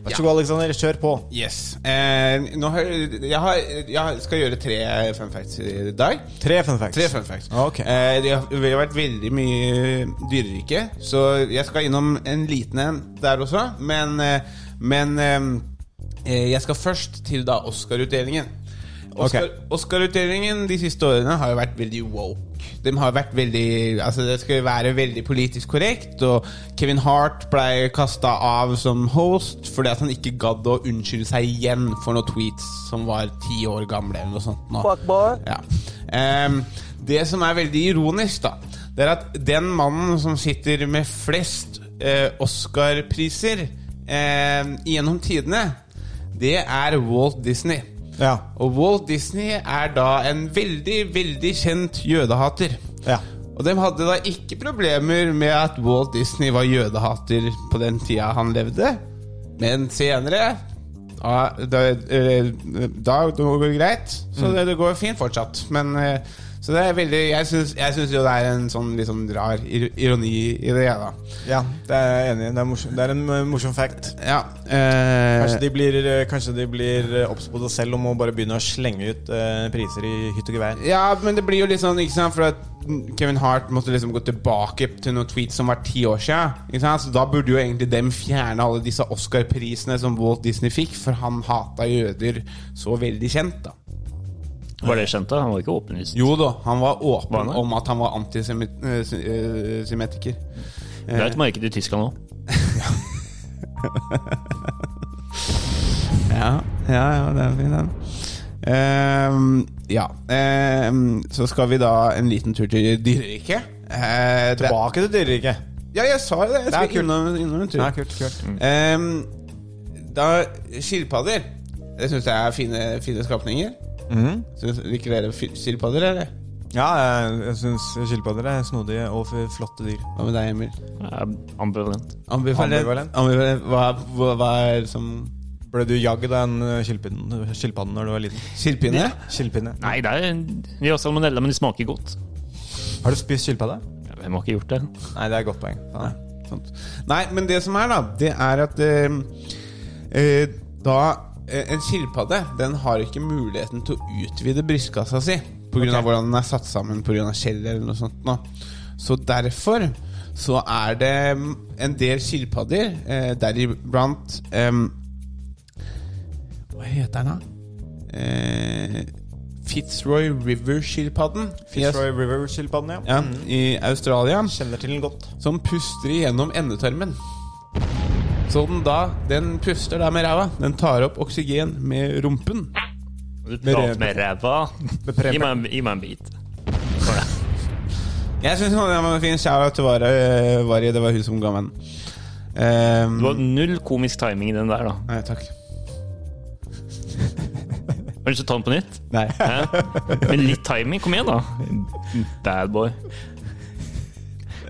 Speaker 2: Vær så god, Alexander. Kjør på.
Speaker 3: Yes. Eh, nå har, jeg, har, jeg skal gjøre tre fun facts i dag.
Speaker 2: Tre fun facts. Ah,
Speaker 3: Tre fun facts.
Speaker 2: Ok.
Speaker 3: Eh, det har, vi har vært veldig mye dyrerike, så jeg skal innom en liten en der også. Men, eh, men eh, jeg skal først til da Oscar-utdelingen. Oscar- Oscar-utdelingen de siste årene har jo vært veldig woke. De har vært veldig Altså Det skal jo være veldig politisk korrekt, og Kevin Hart ble kasta av som host fordi at han ikke gadd å unnskylde seg igjen for noen tweets som var ti år gamle, eller noe sånt. Nå. Ja. Ehm, det som er veldig ironisk, da, det er at den mannen som sitter med flest eh, Oscar-priser eh, gjennom tidene, det er Walt Disney.
Speaker 2: Ja.
Speaker 3: Og Walt Disney er da en veldig, veldig kjent jødehater.
Speaker 2: Ja.
Speaker 3: Og de hadde da ikke problemer med at Walt Disney var jødehater på den tida han levde, men senere ja, da, eh, da går det greit,
Speaker 2: Mm.
Speaker 3: så det, det går fint fortsatt. Men eh, så det er veldig Jeg syns, jeg syns jo det er en sånn litt sånn rar ir- ironi i det, jeg, da.
Speaker 2: ja, det er jeg enig i. Det er, morsom, det er en eh, morsom fact.
Speaker 3: Ja. eh,
Speaker 2: Kanskje de blir, eh, kanskje de blir eh, obs på det selv og må bare begynne å slenge ut eh, priser i hytt og gevær.
Speaker 3: Ja, men det blir jo litt sånn, ikke sant For at Kevin Hart måtte liksom gå tilbake til noen tweets som var ti år siden. Ikke sant? Så da burde jo egentlig dem fjerne alle disse Oscar-prisene som Walt Disney fikk, for han hata jøder så veldig kjent, da.
Speaker 7: Var det kjent, da? Han var ikke åpenlyst.
Speaker 3: Jo da, han var
Speaker 7: Var
Speaker 3: åpen
Speaker 7: han det?
Speaker 3: om at han var eh, antisemitiker.
Speaker 7: Det er et marked i Tyskland òg.
Speaker 3: Ja, ja, ja det er fin den. Ehm, ja. Ehm, så skal vi da en liten tur til dyreriket. Eh, det-
Speaker 2: Tilbake til dyreriket.
Speaker 3: Ja, jeg sa jo det. Jeg
Speaker 2: er
Speaker 3: skal
Speaker 2: kult.
Speaker 3: innom, innom en tur.
Speaker 2: Nei, kult, kult.
Speaker 3: Ehm, da Skilpadder. Det syns jeg er fine, fine skapninger.
Speaker 2: Mhm.
Speaker 3: Synes, liker dere fi- skilpadder, eller?
Speaker 2: Ja, jeg, jeg syns skilpadder er snodige og f- flotte dyr.
Speaker 3: Hva med deg, Emil?
Speaker 7: Jeg er Ambivalent.
Speaker 3: Ambivalent.
Speaker 2: Ambivalent.
Speaker 3: Ambivalent. Hva, hva, hva er det som
Speaker 2: Ble du jagd av en eh, skilpadden skilpadden når du var liten?
Speaker 3: Skilpinne?
Speaker 2: Skilpinne.
Speaker 7: Nei, det er, de har salmonella, men de smaker godt.
Speaker 2: Har du spist skilpadde?
Speaker 7: Ja, Hvem har ikke gjort det?
Speaker 2: Nei, det er et godt poeng. Faen.
Speaker 3: Sant. Nei, men det som er, da, det er at eh, eh, da eh, En skilpadde den har ikke muligheten til å utvide brystkassa si pga. av hvordan den er satt sammen pga. skjell eller noe sånt. Nå. Så derfor så er det mm, en del skilpadder, eh, deriblant eh, Hva heter den, da? Eh, Fitzroy River-skilpadden.
Speaker 2: Fitzroy Mm. River-skilpadden, ja.
Speaker 3: Ja, I Australia
Speaker 2: Kjenner til den godt.
Speaker 3: som puster igjennom endetarmen. Så den da, den puster da med ræva. Den tar opp oksygen med rumpen.
Speaker 7: Du prater med ræva. Gi meg, en- gi meg en bit.
Speaker 3: Jeg syns det var en fin shout til Vari. Vari, det var hun som ga meg den. Ehm,
Speaker 7: Du har null komisk timing i den der, da.
Speaker 3: Nei, takk.
Speaker 7: Har du lyst til å ta den på nytt?
Speaker 3: Nei.
Speaker 7: Hæ? Men litt timing, kom igjen da Bad boy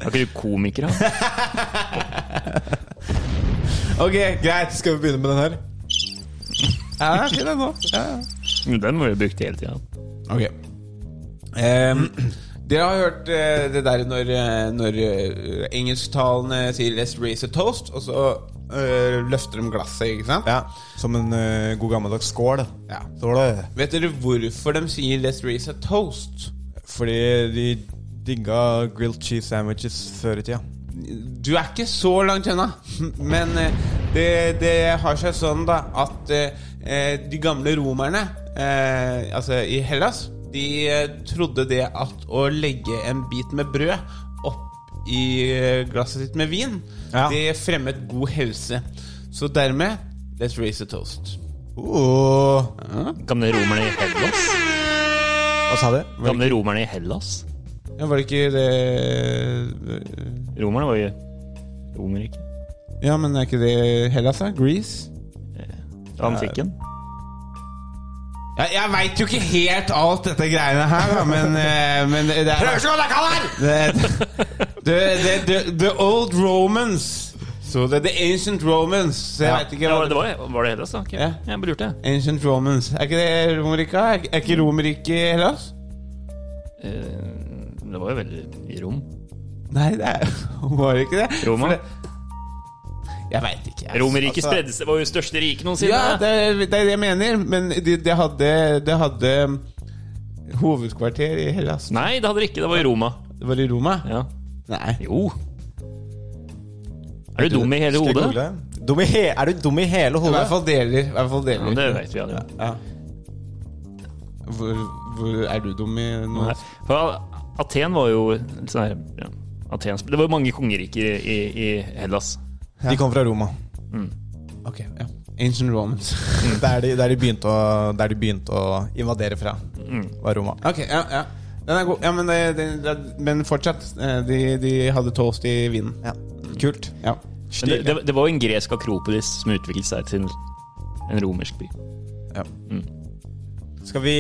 Speaker 7: Er ikke du komiker da?
Speaker 3: Ok, greit. Skal vi begynne med den her? Ja, fin den nå. Ja, ja.
Speaker 7: Jo, Den var jo brukt hele tiden
Speaker 3: Ok. Ehm, dere har hørt eh, det der når, eh, når eh, engelsktalende sier 'let's raise a toast', og så eh, løfter de glasset, ikke sant?
Speaker 2: Ja, Som en eh, god gammeldags skål.
Speaker 3: Ja.
Speaker 2: Så var det
Speaker 3: Vet dere hvorfor de sier 'let's raise a toast'?
Speaker 2: Fordi de digga grilled cheese sandwiches før i tida.
Speaker 3: Du er ikke så langt unna, men eh, det, det har seg sånn da at eh, de gamle romerne, eh, altså i Hellas, de eh, trodde det at å legge en bit med brød opp i eh, glasset sitt med vin,
Speaker 2: Ja.
Speaker 3: det fremmet god helse. Så dermed let's raise a toast.
Speaker 2: Uh,
Speaker 7: Gamle romerne i Hellas
Speaker 2: hva sa du?
Speaker 7: Gamle romerne i Hellas
Speaker 3: Ja, var det ikke det eh,
Speaker 7: Romerne var jo romer ikke
Speaker 3: Ja, men er ikke det Hellas, da? Greece?
Speaker 7: Antikken
Speaker 3: Ja, jeg veit jo ikke helt alt dette greiene her, da, men, eh, men det, det er Prøv å slå deg kald her! The, the old Romans. Så det er the ancient Romans. Så jeg vet ikke
Speaker 7: ja,
Speaker 3: hva
Speaker 7: var, det, var, det- var det Hellas da? Ok.
Speaker 3: Ja.
Speaker 7: Jeg bare lurte
Speaker 3: Ancient Romans. Er ikke det Romerika? Er, er ikke Romerike Hellas?
Speaker 7: jeg Eh, Det var jo veldig i Rom
Speaker 3: Nei, det er, var det ikke det.
Speaker 7: Roma?
Speaker 3: For det- Jeg veit ikke. jeg.
Speaker 7: Romerriket
Speaker 3: Altså-
Speaker 7: spredde seg, var jo største rik noensinne
Speaker 3: Ja, det, er- det er det jeg mener. Men det de hadde, de hadde eh, hovedkvarter i Hellas.
Speaker 7: Nei, det hadde det ikke, det var i Roma
Speaker 3: Det var i Roma?
Speaker 7: ja.
Speaker 3: Nei.
Speaker 7: Jo Er du dum i hele
Speaker 2: Skal jeg
Speaker 7: hodet?
Speaker 2: google det? Dum i he er du dum i hele
Speaker 3: I
Speaker 2: hodet?
Speaker 3: hvert fall deler. I hvert fall
Speaker 7: Ja,
Speaker 3: deler.
Speaker 7: det vet vi alle
Speaker 3: Ja. Hvor, hvor er du dum i noe?
Speaker 7: Nei, For Aten var jo sånn her, ja, Atens, Det var jo mange kongeriker i, i, i Hellas.
Speaker 2: De kom fra Roma. Mm.
Speaker 3: Ok, ja. Ancient Romans.
Speaker 2: Der de, der, de begynte å, der de begynte å invadere fra,
Speaker 3: Mm.
Speaker 2: var Roma.
Speaker 3: ok, ja, ja. Den er god. Ja, men, det, det, det, men fortsatt. eh, De, de hadde toast i vinden.
Speaker 2: Ja. Kult.
Speaker 3: Ja.
Speaker 7: Men det, det, det var jo en gresk akropolis som utviklet seg til en romersk by.
Speaker 2: Skal vi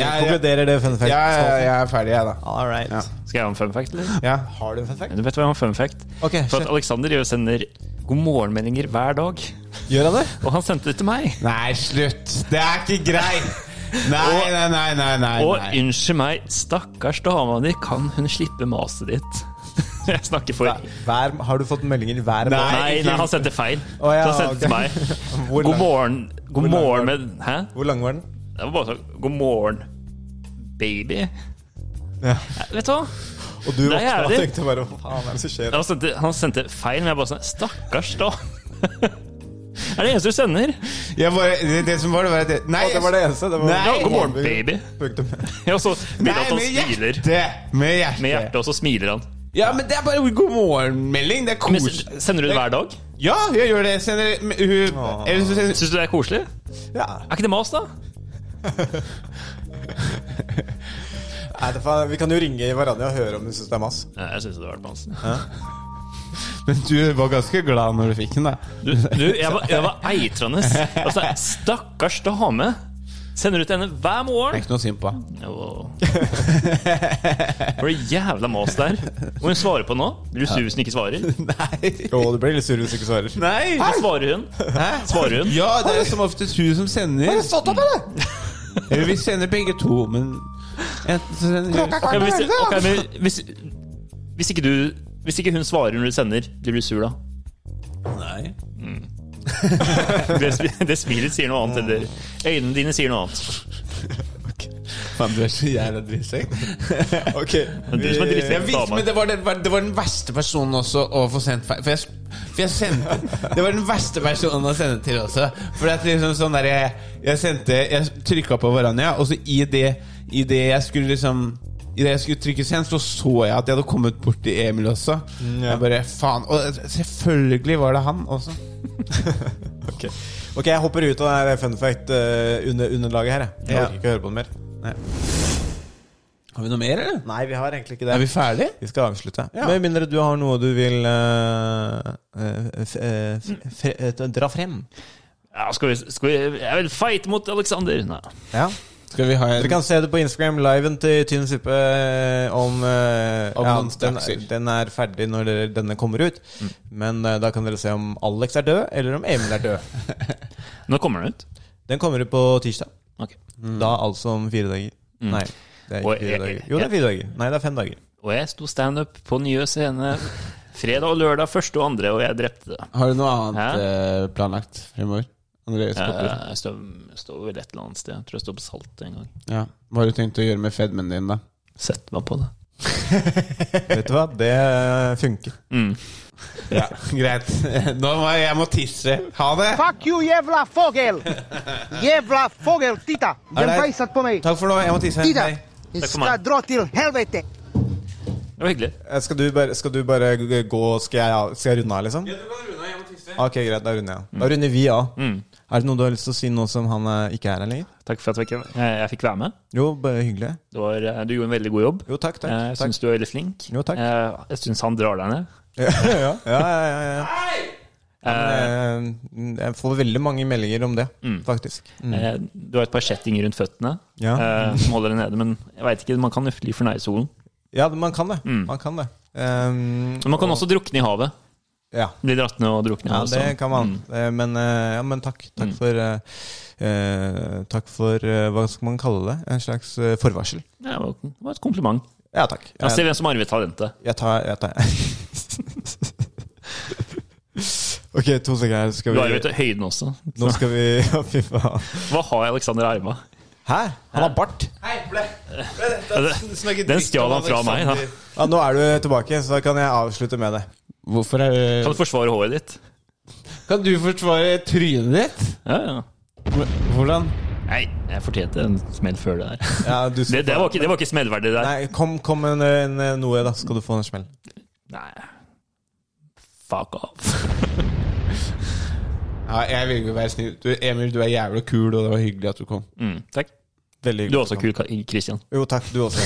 Speaker 3: Ja, ja.
Speaker 2: konkludere det fun fact?
Speaker 3: Ja, ja, ja, jeg er ferdig, jeg, da.
Speaker 2: All right.
Speaker 3: Ja.
Speaker 7: Skal jeg ha en fun fact, eller?
Speaker 3: Ja.
Speaker 2: Har du en fun fact?
Speaker 7: Du vet hva jeg har en fun fact?
Speaker 2: Ok,
Speaker 7: For at Alexander jo sender god morgen-meldinger hver dag.
Speaker 2: Gjør han det?
Speaker 7: Og han sendte det til meg.
Speaker 3: Nei, slutt! Det er ikke greit! Nei,
Speaker 7: Og-
Speaker 3: nei, nei, nei. nei,
Speaker 7: Og
Speaker 3: nei.
Speaker 7: unnskyld meg, stakkars dama di, kan hun slippe maset ditt? Jeg snakker for Nei,
Speaker 2: Hver, har du fått meldinger hver
Speaker 3: Nei. altså,
Speaker 2: måned?
Speaker 7: nei, han sendte feil.
Speaker 2: Å, ja,
Speaker 7: så han sendte
Speaker 2: ok.
Speaker 7: til meg.
Speaker 2: Hvor
Speaker 7: God
Speaker 2: lang-
Speaker 7: morgen. God
Speaker 2: lang var
Speaker 7: morgen
Speaker 2: den?
Speaker 7: med Hæ?
Speaker 2: Hvor lang var den?
Speaker 7: Det var bare sånn God morgen, baby.
Speaker 2: Ja.
Speaker 7: Nei, Vet du hva?
Speaker 2: Og du
Speaker 7: Nei,
Speaker 2: våkna og
Speaker 7: jævlig.
Speaker 2: tenkte bare hva faen er det som skjer?
Speaker 3: Altså,
Speaker 7: Han sendte, han sendte feil, men jeg bare sånn Stakkars, da. er det eneste du sender?
Speaker 3: Jeg bare, det, det som var, det var at det- Nei,
Speaker 2: Å, det var det eneste. Det var
Speaker 3: Nei.
Speaker 7: Ja, god morgen, baby.
Speaker 2: Punktum.
Speaker 7: Ja, og så begynner
Speaker 3: Nei,
Speaker 7: han
Speaker 3: med
Speaker 7: at han smiler.
Speaker 3: hjertet! Med hjertet.
Speaker 7: Med hjertet, og så smiler han.
Speaker 3: Ja, men det er bare god morgen-melding. Det er
Speaker 7: Men
Speaker 3: koselig.
Speaker 7: s- sender du det hver dag?
Speaker 3: Ja, jeg gjør det. Sender men hun eller så sender-
Speaker 7: Syns du det er koselig?
Speaker 2: Ja.
Speaker 7: Er ikke det mas, da?
Speaker 2: Nei, det er faen- vi kan jo ringe hverandre og høre om hun syns det er mas.
Speaker 7: Nei, jeg syns det var mas.
Speaker 3: Men du var ganske glad når du fikk den, da.
Speaker 7: Du, du jeg, var, jeg var eitrende. Altså, stakkars dame. Sender ut henne hver
Speaker 3: Det er
Speaker 7: morgen.
Speaker 3: ikke noe synd på deg.
Speaker 7: Jo. For det jævla mas der. Og hun svarer på nå. Blir du sur hvis hun ikke svarer?
Speaker 2: Jo, du blir litt sur hvis du ikke svarer.
Speaker 3: Nei!
Speaker 7: Så svarer hun. Svarer hun?
Speaker 3: Ja, det er som oftest hun som sender. Har du stått opp, eller? Eller vi sender begge to, men enten så sender
Speaker 7: Ok, hvis, ok, men hvis, hvis ikke du Hvis ikke hun svarer når du sender, blir du sur da?
Speaker 3: Nei.
Speaker 7: Det, smi- det smilet sier noe annet. Eller. Øynene dine sier noe annet.
Speaker 3: Faen, du er så jævla drittsekk.
Speaker 2: Ok.
Speaker 7: Men du som er
Speaker 3: Jeg
Speaker 7: drittsekk,
Speaker 3: visste, men
Speaker 7: dame.
Speaker 3: det var, den, det var den verste personen også å få sendt feil. For jeg, for jeg sendte Det var den verste personen å sende til også. For det er liksom sånn der Jeg, jeg sendte Jeg trykka på Varanja, og så i det, i det jeg skulle liksom i det jeg skulle trykke send, så så jeg at jeg hadde kommet bort til Emil også.
Speaker 2: ja.
Speaker 3: Jeg bare, faen Og selvfølgelig var det han også.
Speaker 2: Ok. ok, jeg hopper ut av det her fun fact-underlaget her. Jeg, jeg
Speaker 3: Ja.
Speaker 2: orker ikke å høre på det mer.
Speaker 3: Har vi noe mer, eller?
Speaker 2: Nei, vi har egentlig ikke
Speaker 3: Er
Speaker 2: det.
Speaker 3: vi ferdige?
Speaker 2: Vi skal avslutte.
Speaker 3: Ja.
Speaker 2: Med mindre du har noe du vil eh, eh, f- eh, f- fre- eh, dra frem.
Speaker 7: Ja, skal vi, skal vi, jeg vil fight mot Alexander. Nei.
Speaker 2: Ja.
Speaker 3: Skal vi ha
Speaker 2: Dere
Speaker 3: en
Speaker 2: kan se det på Instagram, liven til Tynn suppe, eh, om, eh,
Speaker 3: Om
Speaker 2: ja,
Speaker 3: noen
Speaker 2: den,
Speaker 3: strakser.
Speaker 2: den er ferdig når dere, denne kommer ut. Men eh, da kan dere se om Alex er død, eller om Emil er død.
Speaker 7: Nå kommer den ut.
Speaker 2: Den kommer ut på tirsdag.
Speaker 7: Ok.
Speaker 2: Da altså om fire dager.
Speaker 3: Mm.
Speaker 2: Nei, det er
Speaker 7: Og
Speaker 2: ikke fire
Speaker 7: jeg-
Speaker 2: dager. Jo, det er fire dager. Nei, det er fem dager.
Speaker 7: Og jeg sto standup på Nye Scene fredag og lørdag, første og andre, og jeg drepte det.
Speaker 3: Har du noe annet
Speaker 7: Hæ?
Speaker 3: eh, planlagt fremover? Andreas Kopperud?
Speaker 7: Eh, Jeg står, står vel et eller annet sted. Jeg tror jeg står på Salt en gang.
Speaker 3: Ja. Hva har du tenkt å gjøre med fedmen din, da?
Speaker 7: Sett meg på det.
Speaker 2: Vet du hva? Det eh, funker.
Speaker 7: Mm.
Speaker 3: Ja, Greit. Nå må jeg, jeg må tisse. Ha det!
Speaker 4: Fuck you, jævla fogel! Jævla fogel, pa titta! Den
Speaker 3: Alright.
Speaker 4: beiset på meg!
Speaker 3: Takk for nå. Jeg må tisse.
Speaker 4: Titta!
Speaker 3: Hei.
Speaker 4: Jeg
Speaker 7: Takk for meg.
Speaker 4: skal dra til helvete!
Speaker 7: Det var hyggelig.
Speaker 2: Eh, Skal du bare, skal du bare g- gå Skal jeg, skal jeg runde av, liksom? Ok, greit. Da runder jeg
Speaker 7: Mm.
Speaker 2: av. Da runder vi av. Er det noe du har lyst til å si nå som han eh, ikke er her lenger?
Speaker 7: Takk for at jeg, fikk- jeg, jeg fikk være med.
Speaker 2: Jo, bare hyggelig.
Speaker 7: Det var, eh, du gjorde en veldig god jobb. Eh,
Speaker 2: Jo, takk, takk.
Speaker 7: Jeg
Speaker 2: takk.
Speaker 7: syns du er veldig flink.
Speaker 2: Jo, takk.
Speaker 7: Eh, Jeg syns han drar deg ned.
Speaker 2: ja, ja, ja, ja, ja.
Speaker 7: Eh,
Speaker 2: Eh, Jeg får veldig mange meldinger om det, faktisk.
Speaker 7: eh, Du har et par kjettinger rundt føttene
Speaker 2: mm. Ja.
Speaker 7: eh, som holder deg nede, men jeg veit ikke, man kan jo fly for nær solen.
Speaker 2: Ja, man kan det. Man kan det. Um,
Speaker 7: Mm. Men man kan også drukne i havet.
Speaker 2: ja.
Speaker 7: Bli dratt ned og drukne i
Speaker 2: ja,
Speaker 7: havet.
Speaker 2: det
Speaker 7: så-
Speaker 2: kan man.
Speaker 7: Mm.
Speaker 2: Eh, Men, eh, ja, men takk. Takk for eh, eh, Takk for eh, Hva skal man kalle det? En slags eh, forvarsel.
Speaker 7: Ja, det var- det var et kompliment.
Speaker 2: Ja, takk.
Speaker 7: Ja, se
Speaker 2: Jeg,
Speaker 7: hvem som arvet talentet.
Speaker 2: jeg tar, jeg tar. Ok, to sekunder. her, Skal
Speaker 7: Du arvet
Speaker 2: vi
Speaker 7: høyden også.
Speaker 2: Nå skal vi Å, fy faen.
Speaker 7: Hva har Alexander arva?
Speaker 2: Hæ? Han har bart.
Speaker 7: Den stjal han fra meg. Da.
Speaker 3: sånn-
Speaker 2: Ja, nå er du tilbake, så da kan jeg avslutte med det.
Speaker 3: Hvorfor er
Speaker 7: Kan du
Speaker 3: du
Speaker 7: forsvare håret ditt?
Speaker 3: Kan du forsvare trynet ditt?
Speaker 7: Ja, ja.
Speaker 3: Hvor- Hvordan?
Speaker 7: Nei, jeg fortjente en smell før det der.
Speaker 2: Ja, du skal
Speaker 7: Det, det, var, ikke, det var ikke smellverdig der.
Speaker 2: Nei, kom, kom en, en, noe, da skal du få en smell.
Speaker 7: Nei. Fuck off.
Speaker 3: Ja, jeg vil jo være snill. Du, Emil, du er jævla kul, og det var hyggelig at du kom.
Speaker 7: Mm, takk.
Speaker 2: Veldig hyggelig.
Speaker 7: Du er også kul, Ka- Christian.
Speaker 2: Jo, takk. Du også.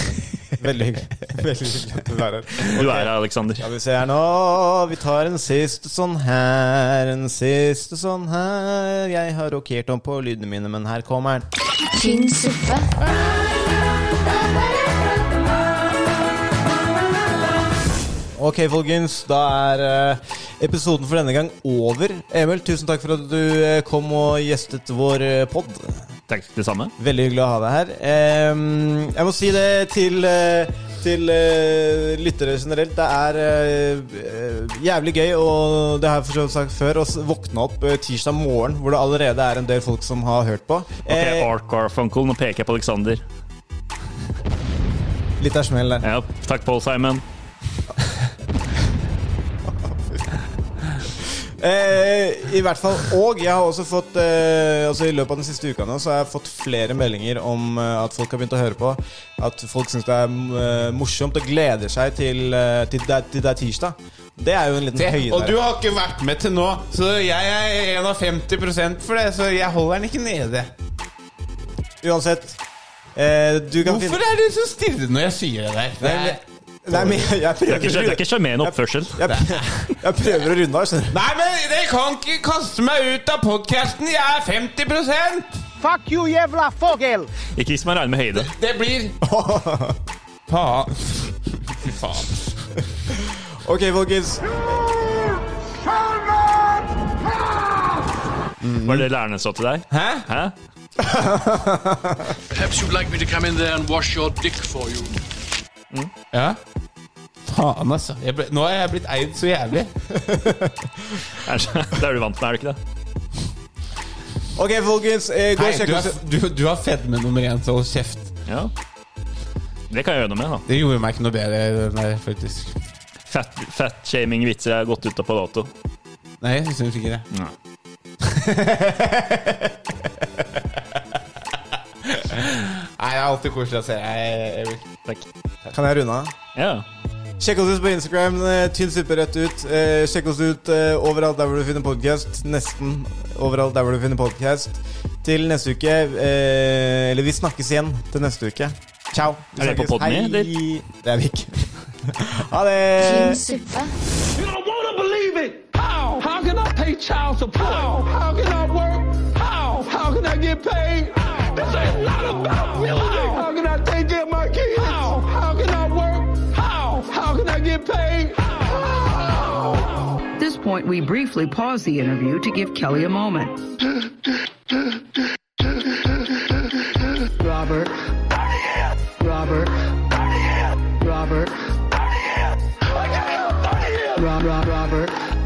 Speaker 2: Veldig hyggelig. Veldig hyggelig at du er her.
Speaker 7: Du er her, Alexander.
Speaker 2: Ja, vi ser her nå. Vi tar en siste sånn her, en siste sånn her. Jeg har rokert om på lydene mine, men her kommer den.
Speaker 1: Tynn suppe.
Speaker 2: Ok, folkens. Da er eh, episoden for denne gang over. Emil, tusen takk for at du eh, kom og gjestet vår eh, pod.
Speaker 7: Takk, det samme.
Speaker 2: Veldig hyggelig å ha deg her. Ehm, jeg må si det til, eh, til eh, lyttere generelt. Det er eh, eh, jævlig gøy, og det har jeg for så vidt sagt før, å s- våkne opp eh, tirsdag morgen hvor det allerede er en del folk som har hørt på.
Speaker 7: Ok,
Speaker 2: Eh,
Speaker 7: Art Garfunkel, nå peker jeg på Alexander.
Speaker 2: litt av smell der.
Speaker 7: Ja, takk, Paul Simon.
Speaker 2: Eh, I hvert fall. Og jeg har også fått eh, Altså i løpet av den siste uka nå Så har jeg fått flere meldinger om eh, at folk har begynt å høre på. At folk syns det er mm, eh, morsomt og gleder seg til, eh, til, det, til det er tirsdag. Det er jo en liten høyde.
Speaker 3: Og du har ikke vært med til nå, så jeg er en av 50 for det. Så jeg holder den ikke nede.
Speaker 2: Uansett. Eh, du kan
Speaker 3: Hvorfor
Speaker 2: finne
Speaker 3: er du så stille når jeg sier det der? Det er...
Speaker 2: Nei, men jeg, jeg
Speaker 7: Det er ikke-
Speaker 2: prøver,
Speaker 7: det er ikke sjarmerende oppførsel.
Speaker 2: jeg, jeg prøver å runde av, skjønner du.
Speaker 3: Nei, men dere kan ikke kaste meg ut av podkasten! Jeg er 50
Speaker 11: Fuck you, jævla fogel!
Speaker 7: Ikke hvis man regner med høyde.
Speaker 3: Det blir Faen. Fy faen.
Speaker 2: Ok, folkens.
Speaker 7: Var det læreren sa til deg?
Speaker 3: Hæ?
Speaker 7: Mm. Hæ?
Speaker 5: Perhaps you'd like me to come in there and wash your dick for you.
Speaker 3: Ja? Faen, altså. Jeg ble... Nå er jeg blitt eid så jævlig.
Speaker 7: Er det det er du vant med, er du ikke det?
Speaker 2: Ok, folkens. Eh, gå og
Speaker 3: Hei, du,
Speaker 2: sjekk
Speaker 3: er,
Speaker 2: oss
Speaker 3: du, du har fedme nummer én, så hold kjeft.
Speaker 7: Ja. Det kan jeg gjøre noe med, da.
Speaker 3: Det gjorde meg ikke noe bedre. den der, faktisk
Speaker 7: Fat- Fat-shaming-vitser er gått ut av på dato.
Speaker 3: Nei, jeg syns ikke det.
Speaker 7: Nei.
Speaker 3: Nei, Det er alltid koselig å se deg.
Speaker 7: Takk.
Speaker 2: Kan jeg runde av?
Speaker 7: Ja.
Speaker 2: Sjekk oss ut på Instagram. eh, Tynn suppe rett ut. Eh, sjekk oss ut eh, overalt der hvor du finner podkast. Nesten overalt der hvor du finner podkast. Til neste uke. Eh, eller vi snakkes igjen til neste uke. Ciao. Vi
Speaker 7: Er det på
Speaker 2: snakkes.
Speaker 7: podden
Speaker 2: Hei.
Speaker 7: i, eller?
Speaker 2: Det er vi ikke. ha det.
Speaker 1: Tynn suppe.
Speaker 4: You don't want to believe it. How? How can I pay child support? How? How can I work? How? How can I get paid? This ain't not about music. How can I take care of my kids? How? How can I work? How? How can I get paid? How?
Speaker 12: At this point, we briefly pause the interview to give Kelly a moment. Robert. Robert. Robert. Rob- Rob- Robert.